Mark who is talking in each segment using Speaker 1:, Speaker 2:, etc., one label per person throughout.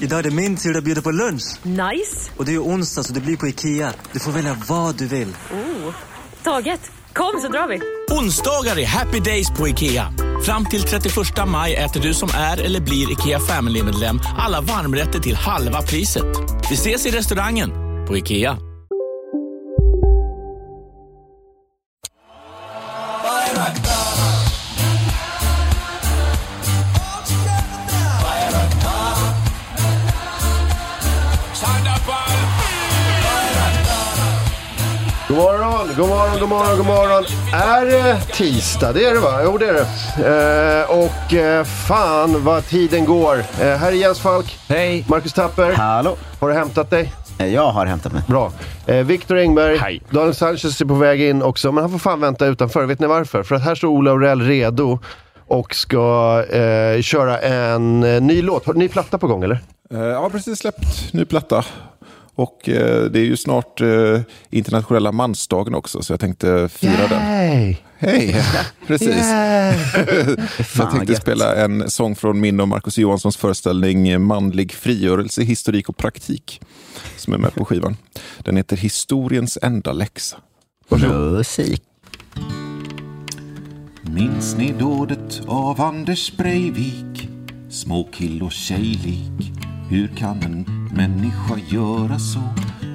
Speaker 1: Idag är det min tur att bjuda på lunch.
Speaker 2: Nice.
Speaker 1: Och det är ju onsdag så det blir på Ikea. Du får välja vad du vill.
Speaker 2: Oh. Taget. Kom så drar vi.
Speaker 3: Onsdagar är happy days på IKEA. Fram till 31 maj äter du som är eller blir IKEA Family-medlem alla varmrätter till halva priset. Vi ses i restaurangen på IKEA.
Speaker 4: God morgon, god morgon, god morgon, god morgon. Är det tisdag? Det är det va? Jo, det är det. Eh, och eh, fan vad tiden går. Eh, här är Jens Falk.
Speaker 5: Hej!
Speaker 4: Marcus Tapper.
Speaker 5: Hallå!
Speaker 4: Har du hämtat dig?
Speaker 5: Eh, Jag har hämtat mig.
Speaker 4: Bra. Eh, Victor Engberg.
Speaker 5: Hej.
Speaker 4: Daniel Sanchez är på väg in också, men han får fan vänta utanför. Vet ni varför? För att här står Ola Aurell redo och ska eh, köra en eh, ny låt. Har du ny platta på gång eller?
Speaker 6: Eh, Ja, precis släppt ny platta. Och eh, det är ju snart eh, internationella mansdagen också, så jag tänkte fira den.
Speaker 4: Nej.
Speaker 6: Hej! Precis.
Speaker 5: Fan,
Speaker 6: jag tänkte
Speaker 5: gött.
Speaker 6: spela en sång från min och Marcus Johanssons föreställning eh, Manlig frigörelse, historik och praktik. Som är med på skivan. Den heter Historiens enda läxa.
Speaker 5: Musik.
Speaker 7: Minns ni dådet av Anders Breivik? Små kill och tjejlik. Hur kan en människa göra så?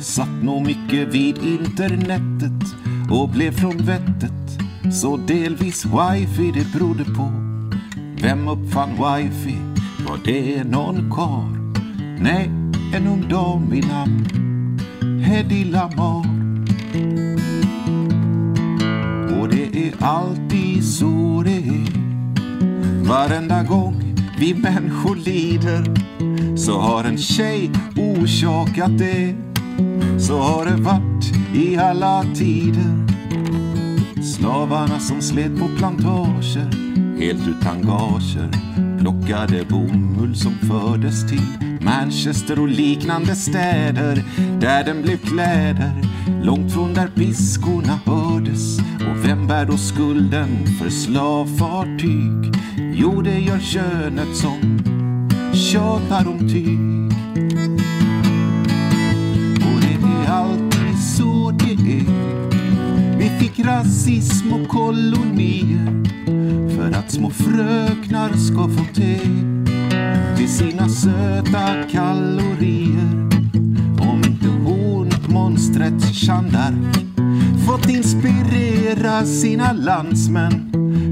Speaker 7: Satt nog mycket vid internetet och blev från vettet. Så delvis wifi det berodde på. Vem uppfann wifi? Var det någon karl? Nej, en ung dam vid namn Hedy Lamarr. Och det är alltid så det är. Varenda gång vi människor lider så har en tjej orsakat det. Så har det varit i alla tider. Slavarna som slet på plantager helt utan gager plockade bomull som fördes till Manchester och liknande städer där den blev kläder långt från där piskorna hördes och vem bär då skulden för slavfartyg? Jo, det gör könet som tjatar om tyg och det är alltid så det är vi fick rasism och kolonier för att små fröknar ska få te till sina söta kalorier. Om inte hornmonstret Jeanne d'Arc fått inspirera sina landsmän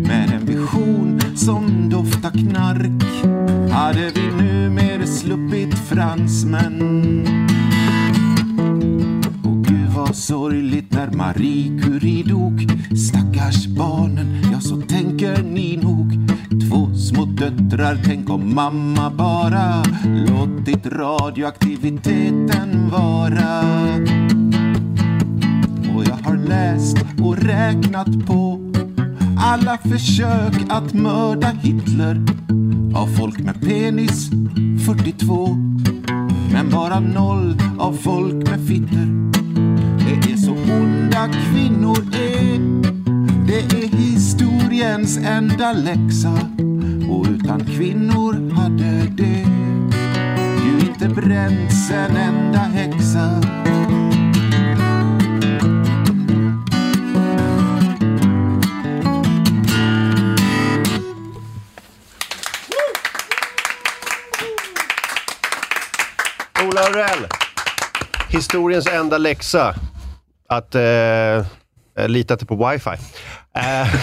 Speaker 7: med en vision som doftar knark hade vi numera sluppit fransmän. Och gud vad sorgligt när Marie Curie dog Stackars barnen, ja så tänker ni nog Två små döttrar, tänk om mamma bara Låtit radioaktiviteten vara Och jag har läst och räknat på alla försök att mörda Hitler av folk med penis 42 men bara noll av folk med fitter Det är så onda kvinnor är Det är historiens enda läxa och utan kvinnor hade det ju inte bränts en enda häxa
Speaker 4: Ola Aurell. Historiens enda läxa. Att eh, eh, lita till på wifi. Eh,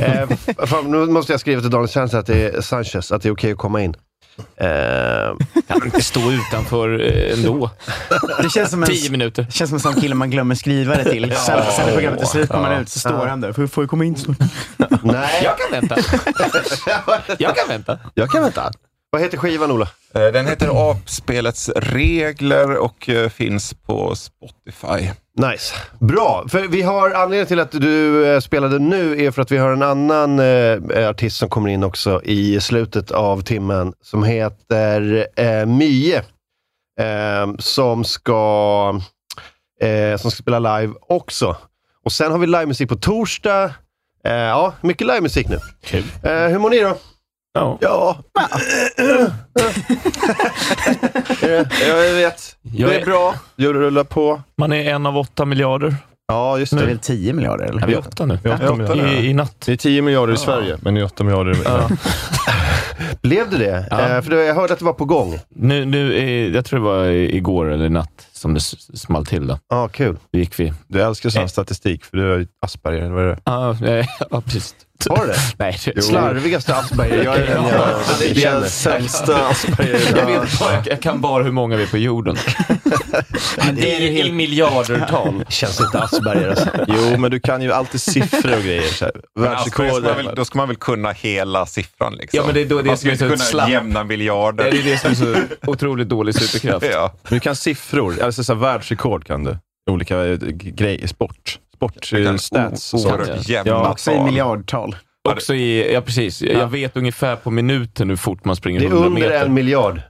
Speaker 4: eh, fan, nu måste jag skriva till Daniel Sanchez att det är, Sanchez, att det är okej att komma in. Eh,
Speaker 8: Stå utanför eh, ändå.
Speaker 5: Det känns som en,
Speaker 8: Tio minuter.
Speaker 5: känns som en sån kille man glömmer skriva det till. Sen, sen när programmet är slut kommer man ut så står han där. Får, får jag komma in snart?
Speaker 4: nej,
Speaker 8: Jag kan vänta. Jag kan vänta.
Speaker 4: jag kan vänta. Vad heter skivan, Ola?
Speaker 9: Eh, Den heter Apspelets regler och eh, finns på Spotify.
Speaker 4: Nice. Bra, för vi har anledningen till att du eh, spelade nu är för att vi har en annan eh, artist som kommer in också i slutet av timmen som heter eh, Mie. Eh, som, ska, eh, som ska spela live också. Och sen har vi livemusik på torsdag. Eh, ja, mycket livemusik nu.
Speaker 8: Kul.
Speaker 4: Eh, hur mår ni då?
Speaker 8: Ja.
Speaker 4: Ja. jag vet.
Speaker 8: Jag Det är är-
Speaker 4: bra. Du rullar på.
Speaker 8: Man är en av åtta miljarder.
Speaker 4: Ja, just
Speaker 5: Det är
Speaker 4: det.
Speaker 5: väl 10 miljarder?
Speaker 8: Är vi
Speaker 5: Eller?
Speaker 8: åtta nu?
Speaker 10: Vi är åtta miljarder.
Speaker 8: I, I natt.
Speaker 10: Det är 10 miljarder i Sverige, men det är 8 miljarder i
Speaker 8: Ja.
Speaker 4: Blev det det?
Speaker 8: Ja.
Speaker 4: Eh, för det- jag hörde att det var på gång.
Speaker 8: Nu, nu, eh, jag tror det var i- igår eller i natt som det s- small till. Då.
Speaker 4: Ja, kul.
Speaker 8: Då gick vi.
Speaker 10: Du älskar sån här statistik, för du har ju Asperger. Vad är det?
Speaker 8: Ja, eh, ja, precis.
Speaker 4: Har du det?
Speaker 8: Nej, det,
Speaker 4: Slarvigaste Asperger jag, jag, jag känner.
Speaker 10: sämsta Asperger.
Speaker 8: jag, vet, bara- jag, jag kan bara hur många vi är på jorden. det är ju i miljardertal.
Speaker 4: Känns inte Asperger alltså.
Speaker 10: Jo, men du kan ju alltid siffror och grejer. Så här.
Speaker 9: Men alltså, då, ska man väl,
Speaker 10: Världsrekord.
Speaker 9: då ska man väl kunna hela siffran? Liksom.
Speaker 8: Ja, men det är då det
Speaker 9: man
Speaker 8: som
Speaker 9: ska
Speaker 8: är så
Speaker 9: inte kunna
Speaker 8: slapp.
Speaker 9: jämna
Speaker 8: Det är
Speaker 9: miljarder.
Speaker 8: ju det som är så otroligt dålig superkraft.
Speaker 9: Ja.
Speaker 10: Men du kan siffror, alltså så här, världsrekord kan du. Olika eh, grejer, sport. Sport,
Speaker 9: Du
Speaker 10: eh,
Speaker 9: kan
Speaker 10: stats.
Speaker 9: o-
Speaker 10: och sånt.
Speaker 9: oerhört
Speaker 5: Ja,
Speaker 9: jämna
Speaker 5: också i
Speaker 9: tal.
Speaker 5: miljardtal.
Speaker 8: Också i, ja precis. Jag vet ungefär på minuten hur fort man springer
Speaker 4: Det är
Speaker 8: 100
Speaker 4: under
Speaker 8: meter.
Speaker 4: en miljard.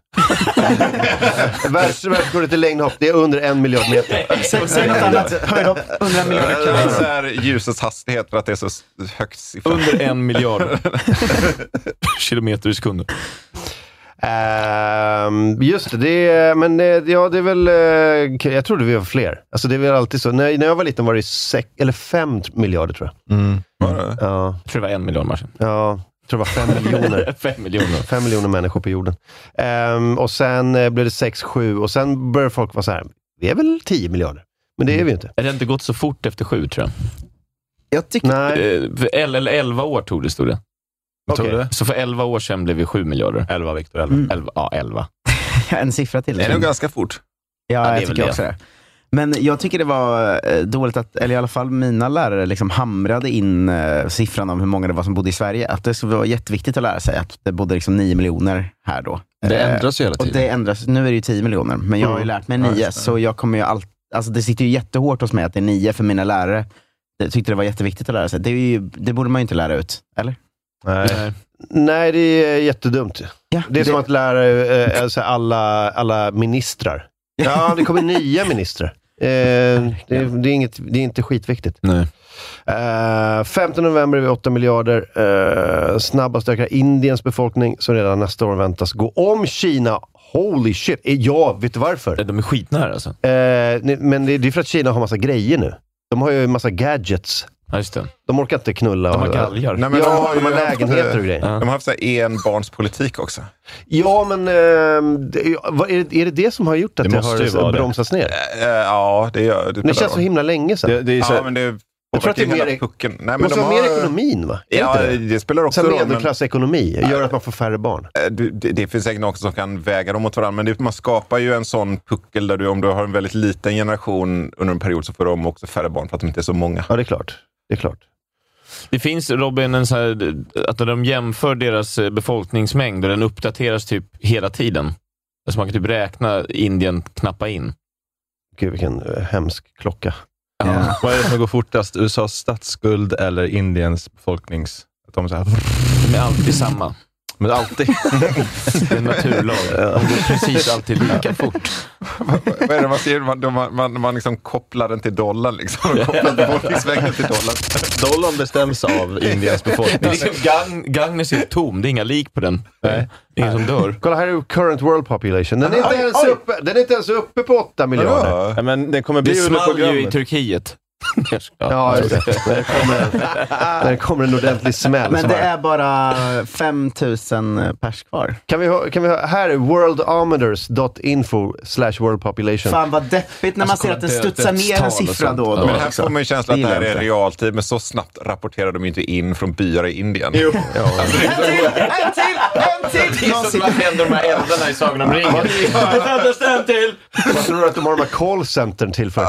Speaker 4: Världs- Världsrekordet i längdhopp, det är under en miljard meter.
Speaker 5: Säg säg något annat. Höjdhopp. 100 miljarder.
Speaker 9: Det är så här ljusets hastighet för att det är så s- högt siffra. Mm.
Speaker 8: Under en miljard kilometer i sekunden.
Speaker 4: Ehm, just det, det är, men eh, ja, det är väl... eh, Jag trodde vi var fler. Alltså det är väl alltid så. När, när jag var liten var det sex, eller fem miljarder tror jag. Ja,
Speaker 8: Jag tror det Mm. var en miljard matcher.
Speaker 4: ja, jag tror det var fem miljoner.
Speaker 8: Fem miljoner.
Speaker 4: Fem miljoner människor på jorden. Ehm, och sen eh, blev det sex, sju och sen började folk vara så här, vi är väl tio miljarder? Men det är vi ju inte.
Speaker 8: Det har inte gått så fort efter sju, tror jag.
Speaker 5: Jag tycker
Speaker 4: Nej,
Speaker 8: Eh, för el- eller elva år tog det, stod det.
Speaker 10: Vad tror
Speaker 4: Okej.
Speaker 10: du?
Speaker 8: Så för elva år sedan blev vi sju miljarder.
Speaker 10: 11, Viktor. 11.
Speaker 5: Mm.
Speaker 8: Elva, ja, elva.
Speaker 5: en siffra till.
Speaker 9: Det är nog ganska fort.
Speaker 8: Ja,
Speaker 5: Ja,
Speaker 8: det är
Speaker 5: jag
Speaker 8: väl
Speaker 5: tycker
Speaker 8: det.
Speaker 5: också det. Men jag tycker det var eh, dåligt att, eller i alla fall mina lärare, liksom hamrade in eh, siffran om hur många det var som bodde i Sverige. Att det var jätteviktigt att lära sig att det bodde liksom 9 miljoner här då.
Speaker 10: Det
Speaker 5: Eh,
Speaker 10: ändras ju hela
Speaker 5: Och
Speaker 10: tiden.
Speaker 5: det ändras. Nu är det ju 10 miljoner, men jag har ju
Speaker 4: Mm.
Speaker 5: lärt mig
Speaker 10: Ja,
Speaker 5: 9,
Speaker 10: just det.
Speaker 5: så jag kommer ju allt, alltså det sitter ju jättehårt hos mig att det är 9 för mina lärare. Jag tyckte det var jätteviktigt att lära sig. Det, är ju, det borde man ju inte lära ut, eller?
Speaker 10: Nej.
Speaker 8: Nej.
Speaker 4: nej, det är jättedumt.
Speaker 5: Ja,
Speaker 4: Det är som att lära eh, alltså alla, alla ministrar. Ja, det kommer nya ministrar. Eh, det, det, är inget, det är inte skitviktigt.
Speaker 8: Nej.
Speaker 4: Eh, 15 november är vi 8 miljarder. Eh, snabbast ökar Indiens befolkning, som redan nästa år väntas gå om Kina. Holy shit! Eh, Ja, vet du varför?
Speaker 8: De är skitnära alltså.
Speaker 4: Eh, ni- men det, det är för att Kina har massa grejer nu. De har ju en massa gadgets.
Speaker 8: Ja, just det.
Speaker 4: De orkar inte knulla.
Speaker 8: De har
Speaker 4: och-
Speaker 8: galgar.
Speaker 9: Nej,
Speaker 4: Ja, de har,
Speaker 9: ju haft,
Speaker 4: lägenheter och
Speaker 9: eh,
Speaker 4: grejer.
Speaker 8: Ja.
Speaker 9: De har haft så här enbarnspolitik också.
Speaker 4: Ja, men eh, det, vad är, det, är det det som har gjort att
Speaker 10: Det
Speaker 4: det,
Speaker 10: måste ju
Speaker 4: har
Speaker 10: vara det.
Speaker 4: bromsats ner?
Speaker 9: Eh, eh, Ja, det gör det.
Speaker 4: Det känns så himla länge sedan.
Speaker 10: Det, det är så
Speaker 9: Ja,
Speaker 10: här,
Speaker 9: men det
Speaker 4: tror att det är
Speaker 9: påverkar ju
Speaker 4: mer-
Speaker 9: hela pucken. Nej,
Speaker 4: det
Speaker 9: men
Speaker 4: måste
Speaker 9: de
Speaker 4: vara mer
Speaker 9: har-
Speaker 4: ekonomin, va? Är
Speaker 9: Ja,
Speaker 4: inte det?
Speaker 9: det spelar också
Speaker 4: Sen
Speaker 9: roll. men-
Speaker 4: medelklassekonomi gör att man får färre barn.
Speaker 9: Eh, du- Det, det finns säkert något som kan väga dem mot varandra, men det, man skapar ju en sån puckel där du, om du har en väldigt liten generation under en period, så får de också färre barn för att de inte är så många.
Speaker 4: Ja, det är klart. Det är klart.
Speaker 8: Det finns, Robin, en sån här, att när de jämför deras eh, befolkningsmängd och den uppdateras typ hela tiden. Alltså man kan typ räkna Indien, knappa in.
Speaker 4: Gud, vilken eh, hemsk klocka.
Speaker 5: Ja.
Speaker 10: vad är det som går fortast? USAs statsskuld eller Indiens befolknings... Att de är så här,
Speaker 8: De är alltid samma.
Speaker 10: men alltid.
Speaker 8: Det är en naturlag. De går precis alltid lika fort.
Speaker 9: Vad är det man ser? Man, de- man, man, man liksom kopplar den till dollarn. Liksom. Man kopplar befolkningsvägen till dollarn.
Speaker 10: Dollarn bestäms av Indiens
Speaker 8: Det är
Speaker 10: befolkning.
Speaker 8: liksom gang, Gagnef är tom, det är inga lik på den. Ingen som dör.
Speaker 4: Kolla, här är current world population. Den är inte,
Speaker 9: Oj,
Speaker 4: ens,
Speaker 9: oj.
Speaker 4: uppe, den är inte ens uppe på 8 miljarder.
Speaker 9: Ja.
Speaker 10: Ja, men den kommer
Speaker 8: Det
Speaker 10: bli under
Speaker 8: small ju i
Speaker 10: programmet.
Speaker 8: Turkiet.
Speaker 4: Ja, just det. När det kommer, när det kommer en ordentlig smäll.
Speaker 5: Men
Speaker 4: så
Speaker 5: det
Speaker 4: bara-
Speaker 5: är bara 5000 pers kvar.
Speaker 4: Kan vi, ha- kan vi, ha- här är worldometers.info slash world population.
Speaker 5: Fan vad deppigt när man
Speaker 8: Alltså,
Speaker 5: ser att det
Speaker 8: kolla
Speaker 5: studsar ner
Speaker 8: dödstal
Speaker 5: en
Speaker 8: och
Speaker 5: siffra
Speaker 8: sånt.
Speaker 5: då och
Speaker 8: Ja,
Speaker 5: då.
Speaker 9: Men här
Speaker 5: också.
Speaker 9: får man ju känslan att det här
Speaker 5: gillar
Speaker 9: är
Speaker 5: jag
Speaker 8: Alltså,
Speaker 9: realtid, men så snabbt rapporterar de ju inte in från byar i Indien.
Speaker 5: En till! En till!
Speaker 8: En till! Det är som man tänder de här eldarna i Sagan om ringen.
Speaker 4: Det
Speaker 8: tändes en till!
Speaker 4: Vad tror du att de har de här callcentern till för?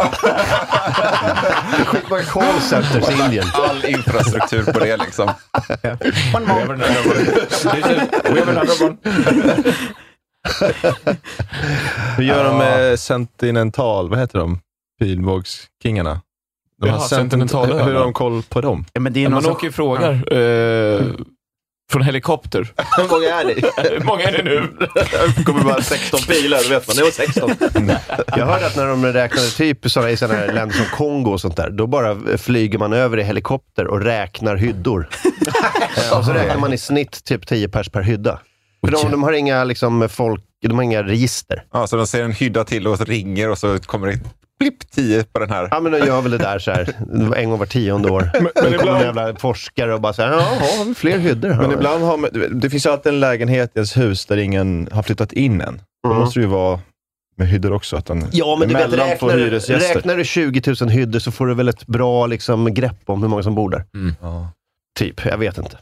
Speaker 4: Skitmånga callcenters i Indien.
Speaker 9: All infrastruktur på det liksom.
Speaker 8: One more. We have another one.
Speaker 10: Hur gör de med Sentinental, vad heter de? Pilbågskingarna? De
Speaker 8: Jaha,
Speaker 10: här Sentinental,
Speaker 8: Sentinentalöarna.
Speaker 10: hur har de koll på dem?
Speaker 5: Ja, men det
Speaker 8: Ja, man åker ju frågor eh, från helikopter.
Speaker 5: Hur många är det?
Speaker 8: Hur många är det nu?
Speaker 10: Det kommer bara 16 bilar, då vet man. Det var 16.
Speaker 4: Jag hörde att när de räknade typ sådana, i sådana här länder som Kongo och sånt där, då bara flyger man över i helikopter och räknar hyddor. Eh, och så räknar man i snitt typ 10 pers per hydda. För de, de har inga liksom, folk, de har inga register.
Speaker 9: Ja, så de ser en hydda till och så ringer och så kommer det blipp 10 på den här.
Speaker 4: Ja, men de gör väl det där så här, en gång var tionde år. Men, men kommer en jävla forskare och bara säger, ja, har vi fler hyddor här?
Speaker 10: Men ibland har man, du vet, det finns ju alltid en lägenhet i ens hus där ingen har flyttat in än. Då
Speaker 4: Mm.
Speaker 10: måste det ju vara med hyddor också. Att den,
Speaker 4: Ja, men du vet,
Speaker 10: mellan två
Speaker 4: räknar, du-
Speaker 10: hyresgäster.
Speaker 4: räknar du 20 000 hyddor så får du väl ett bra liksom, grepp om hur många som bor där.
Speaker 10: Ja.
Speaker 4: Typ, jag vet inte.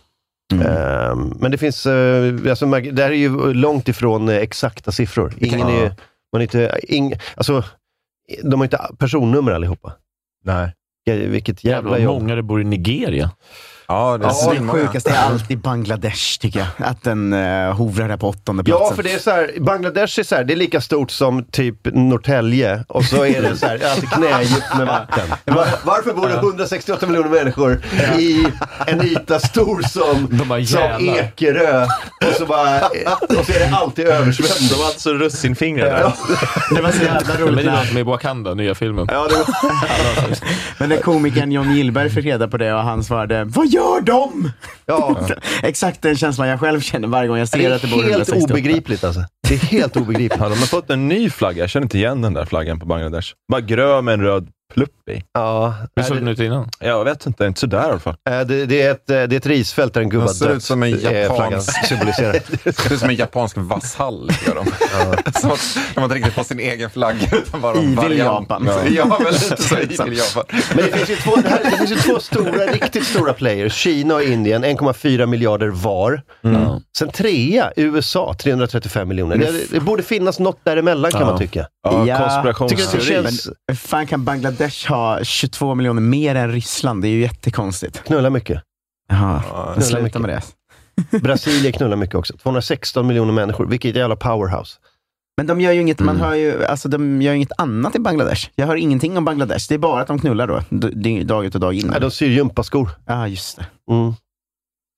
Speaker 4: Ehm, men det finns, eh, alltså, man- det här är ju långt ifrån eh, exakta siffror. Ingen
Speaker 10: Ja.
Speaker 4: är, man är inte, ing, alltså, de har inte personnummer allihopa.
Speaker 10: Nej.
Speaker 4: Ja, Vilket
Speaker 8: Jävlar
Speaker 4: jävla
Speaker 8: vad
Speaker 4: jobb.
Speaker 8: många det bor i Nigeria.
Speaker 9: Ja, det är
Speaker 5: Ja, det
Speaker 9: svinmånga.
Speaker 5: sjukaste är alltid Bangladesh, tycker jag. Att den eh, hovrar där på åttonde platsen.
Speaker 4: Ja, för det är så här, Bangladesh är så här, det är lika stort som typ Norrtälje och så är det så här, alltså knädjupt med vatten. Var, varför bor det 168 miljoner människor i en yta stor som,
Speaker 8: De bara,
Speaker 4: som
Speaker 8: "Jävlar."
Speaker 4: Ekerö och så, bara, och så är det alltid översvämning?
Speaker 10: De har alltså russinfingrar där.
Speaker 5: det var så jävla
Speaker 8: Men det
Speaker 5: roligt.
Speaker 8: är
Speaker 5: när-
Speaker 8: något med Wakanda, nya filmen.
Speaker 5: Ja, det var... Men när komikern John Gillberg fick reda på det och han svarade Vad gör de?
Speaker 4: Ja.
Speaker 5: Exakt den känslan jag själv känner varje gång jag
Speaker 4: Det
Speaker 5: ser
Speaker 4: är
Speaker 5: att det bor
Speaker 4: helt
Speaker 5: 168.
Speaker 4: obegripligt alltså. Det är helt obegripligt.
Speaker 10: Ja, de har fått en ny flagga. Jag känner inte igen den där flaggan på Bangladesh. Bara grön med en röd plupp i.
Speaker 4: Ja,
Speaker 8: Hur såg
Speaker 4: det,
Speaker 8: den ut innan?
Speaker 10: Jag vet inte, inte sådär i alla fall.
Speaker 4: eh, det, det, är ett, eh, det är ett risfält där en gubbe
Speaker 9: De ser
Speaker 4: har dött.
Speaker 9: ut som en
Speaker 4: Det är flaggan
Speaker 9: japansk-
Speaker 4: symboliserar.
Speaker 9: Det ser ut som en japansk vasshall. Gör de. Som att de inte riktigt har sin egen flagga. Utan bara en
Speaker 5: Evil
Speaker 9: variant.
Speaker 5: Japan.
Speaker 9: Ja, ja men lite så. Evil Japan.
Speaker 4: Men det finns ju två, det här, det finns ju två stora, riktigt stora players. Kina och Indien, 1,4 miljarder var. Sen trea, USA, 335 miljoner. Det, det borde finnas något däremellan kan man tycka.
Speaker 10: Ja,
Speaker 5: Ja.
Speaker 4: Tycker att det
Speaker 10: konspirationsteori.
Speaker 4: känns...
Speaker 5: Hur fan kan Bangladesh ha 22 miljoner mer än Ryssland? Det är ju jättekonstigt.
Speaker 4: Knulla mycket.
Speaker 5: Jaha,
Speaker 4: det är
Speaker 5: sluta
Speaker 4: mycket.
Speaker 5: med det.
Speaker 4: Brasilien knullar mycket också. 216 miljoner människor. Vilket jävla powerhouse.
Speaker 5: Men de gör ju inget,
Speaker 4: Mm.
Speaker 5: man hör ju, alltså de gör ju inget annat i Bangladesh. Jag hör ingenting om Bangladesh. Det är bara att de knullar då. D- det är dag ut och dag in.
Speaker 4: Nej, de syr gympaskor.
Speaker 5: Ja, just det.
Speaker 4: Mm.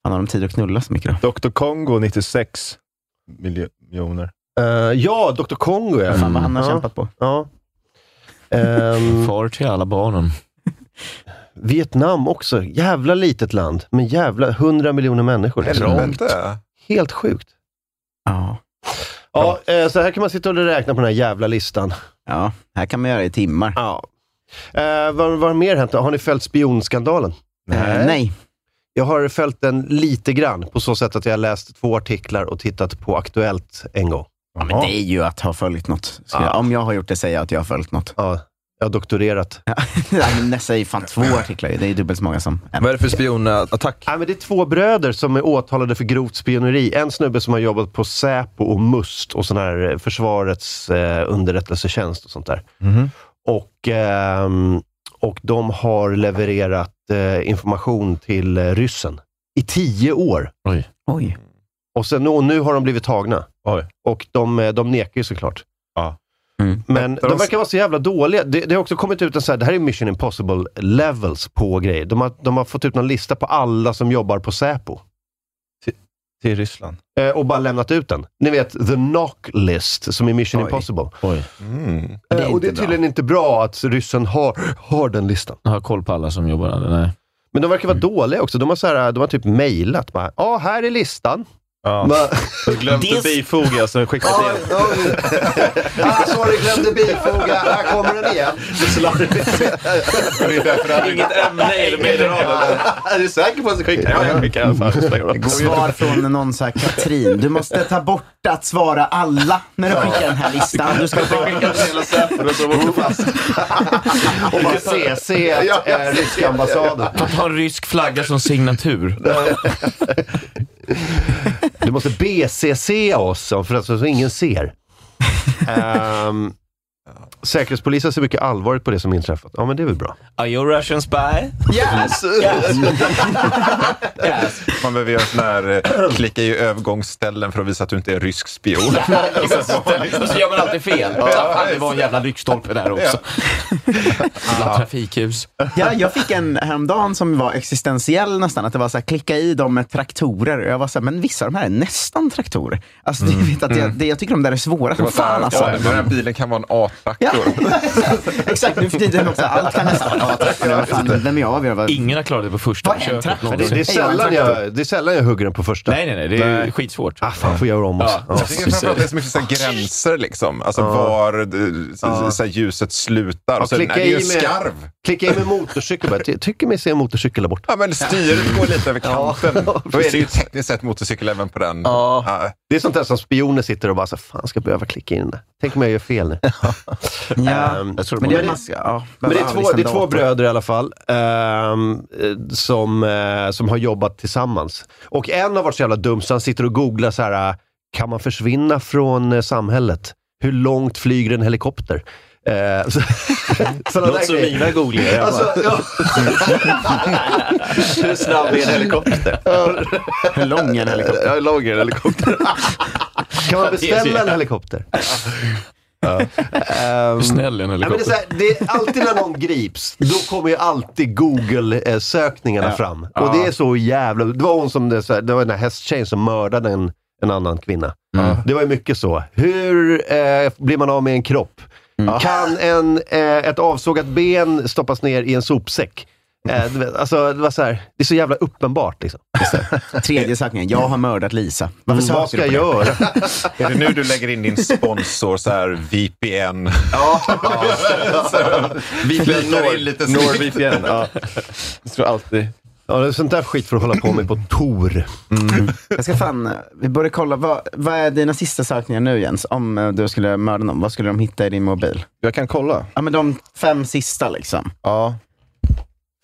Speaker 5: Fan, har de tid att knulla så mycket då?
Speaker 10: Dr. Kongo 96 miljoner.
Speaker 4: Eh, ja, Dr. Kongo ja.
Speaker 5: Fan vad han har
Speaker 4: Ja.
Speaker 5: kämpat på.
Speaker 4: ja. Ehm,
Speaker 8: Far till alla barnen.
Speaker 4: Vietnam också. Jävla litet land. Men jävla 100 miljoner människor. Det är
Speaker 9: Helvete.
Speaker 4: helt sjukt.
Speaker 5: Ja.
Speaker 4: Ja, eh, så här kan man sitta och räkna på den här jävla listan.
Speaker 5: ja, här kan man göra i timmar.
Speaker 4: Ja. Eh, vad, vad har mer hänt? då? Har ni följt spionskandalen?
Speaker 5: Eh, nej.
Speaker 4: Jag har följt den lite grann på så sätt att jag har läst två artiklar och tittat på Aktuellt en gång.
Speaker 5: Ja, men det är ju att ha följt något. Ska jag, om jag har gjort det, säger jag att jag har följt något.
Speaker 4: Ja, jag har doktorerat.
Speaker 5: Nej, men Nästa är ju fan två artiklar ju. Det är ju dubbelt så många som en.
Speaker 10: Vad är det för spionattack?
Speaker 4: Nej, men det är två bröder som är åtalade för grovt spioneri. En snubbe som har jobbat på Säpo och Must och sån här eh, försvarets eh, underrättelsetjänst och sånt där. Och, ehm, och de har levererat eh, information till eh, ryssen i tio år.
Speaker 5: Oj.
Speaker 4: Och sen, och nu har de blivit tagna.
Speaker 10: Oj.
Speaker 4: Och de, eh, de nekar ju såklart.
Speaker 10: Ja.
Speaker 5: Mm.
Speaker 4: Men de verkar vara så jävla dåliga. Det, det har också kommit ut en så här, det här är Mission Impossible levels på grejer. De har, de har fått ut någon lista på alla som jobbar på Säpo.
Speaker 10: Till Ryssland.
Speaker 4: Eh, och bara lämnat ut den. Ni vet, the knock list som i Mission
Speaker 5: Oj.
Speaker 4: Impossible.
Speaker 9: Mm.
Speaker 5: Det är
Speaker 4: eh, och det är
Speaker 5: inte
Speaker 4: tydligen inte bra att ryssen har, har den listan.
Speaker 8: Jag har koll på alla som jobbar där. Nej.
Speaker 4: Men de verkar vara dåliga också. De har, så här, de har typ mejlat. bara, Ja, här är listan.
Speaker 10: Ja.
Speaker 4: Bara,
Speaker 10: Glömt att bifoga, så skickat
Speaker 4: Ja,
Speaker 10: igen.
Speaker 4: ja, ja. ah, sorry, glömde bifoga. Här kommer den igen.
Speaker 9: Det är därför det här är-
Speaker 10: ämne eller mineraler. Är du säker på att du skickar? Ja, jag skickar i alla fall.
Speaker 5: Mm. Svar från någon så här, Katrin. Du måste ta bort att svara alla när du skickar den här listan. Du ska bara...
Speaker 4: Och bara CC eh, ryska ambassaden.
Speaker 8: Att ha en rysk flagga som signatur.
Speaker 4: Du måste BCC oss, för att så ingen ser. Ehm, säkerhetspolisen ser mycket allvarligt på det som inträffat. Ja, men det är väl bra.
Speaker 8: Are you a Russian spy?
Speaker 9: Yes! Man behöver göra sån här, eh, klicka i övergångsställen för att visa att du inte är rysk spion.
Speaker 8: Och så gör man alltid fel.
Speaker 9: Ja,
Speaker 8: Fan, det var en jävla lyktstolpe där också. Jävla trafikljus.
Speaker 5: Ja, jag fick en häromdagen som var existentiell nästan. Att det var så här, klicka i dem med traktorer. Och jag var så här, men vissa av de här är nästan traktorer. Alltså, du vet att jag, det, jag tycker de där är svåra
Speaker 9: Det
Speaker 5: som
Speaker 9: var så här,
Speaker 5: fan alltså.
Speaker 9: ja, den här bilen kan vara en A-traktor.
Speaker 5: Exakt, nu för tiden också. Allt kan nästan vara traktorer. Vad fan, Vem är jag? Vi har
Speaker 8: Ingen har klarat det på första
Speaker 5: Vad är en
Speaker 8: försöket
Speaker 5: traktor?
Speaker 4: Det,
Speaker 8: någonsin.
Speaker 4: det, är sällan jag, det är sällan jag hugger den på första.
Speaker 8: Nej, nej, nej. Det är skitsvårt.
Speaker 4: Ah, fan, får jag göra om oss.
Speaker 8: Ja.
Speaker 9: Jag tycker framförallt det är så mycket så här gränser, liksom. alltså var eh, så, så här ljuset slutar.
Speaker 4: Ja,
Speaker 9: Och så, nej,
Speaker 4: klicka,
Speaker 9: det är ju
Speaker 4: i
Speaker 9: en
Speaker 4: med,
Speaker 9: skarv.
Speaker 4: klicka i med motorcykel bara. Jag tycker mig se en motorcykel där borta.
Speaker 9: Ja, men styret går lite över kanten. Då är det ju tekniskt sett motorcykel även på den. Ja.
Speaker 4: Det är sånt där som spioner sitter och bara, så, fan ska jag behöva klicka in den där? Tänk om jag gör fel nu.
Speaker 5: Ja,
Speaker 4: Ehm,
Speaker 8: Jag tror
Speaker 5: men
Speaker 8: det
Speaker 5: det
Speaker 8: var...
Speaker 5: är, mass- ja,
Speaker 4: Men det är
Speaker 5: ja,
Speaker 4: två,
Speaker 5: liksom
Speaker 4: det är två
Speaker 5: dator.
Speaker 4: bröder i alla fall, ehm, eh, som, eh, som har jobbat tillsammans. Och en har varit så jävla dum så han sitter och googlar så här, eh, kan man försvinna från eh, samhället? Hur långt flyger en helikopter? Eh, så, sådana där
Speaker 8: Låter som
Speaker 4: grejer.
Speaker 8: mina googlingar. Jag
Speaker 4: Alltså,
Speaker 8: bara,
Speaker 4: ja. Hur snabb är en helikopter?
Speaker 5: Hur lång är en helikopter?
Speaker 4: Ja, hur lång är en helikopter? kan man beställa en helikopter? Ehm,
Speaker 8: Hur snäll är en
Speaker 4: Ja, men det, är
Speaker 8: helikopter?
Speaker 4: så här, det är alltid när någon grips, då kommer ju alltid Google-sökningarna fram. Och det är så jävla... Det var hon som, det, så här, det var den här hästtjejen som mördade en, en annan kvinna. Det var ju mycket så. Hur eh, blir man av med en kropp?
Speaker 10: Mm.
Speaker 4: Kan en, eh, ett avsågat ben stoppas ner i en sopsäck? Eh, du vet, alltså, det, var så här, det är så jävla uppenbart. Liksom.
Speaker 5: Tredje sökningen. Jag har mördat Lisa. Varför
Speaker 4: Mm, vad
Speaker 5: söker
Speaker 4: ska
Speaker 5: du
Speaker 4: jag
Speaker 5: på det?
Speaker 4: göra?
Speaker 9: Är det nu du lägger in din sponsor, så här VPN?
Speaker 10: Vi
Speaker 9: klickar in lite snyggt.
Speaker 10: NordVPN, ja. Jag tror alltid...
Speaker 4: Ja, det är sånt där skit för att hålla på med på Tor.
Speaker 10: Mm.
Speaker 5: Jag ska fan, eh, vi borde kolla, vad, vad är dina sista sökningar nu Jens? Om eh, du skulle mörda någon, vad skulle de hitta i din mobil?
Speaker 10: Jag kan kolla.
Speaker 5: Ja men de fem sista liksom.
Speaker 10: Ja.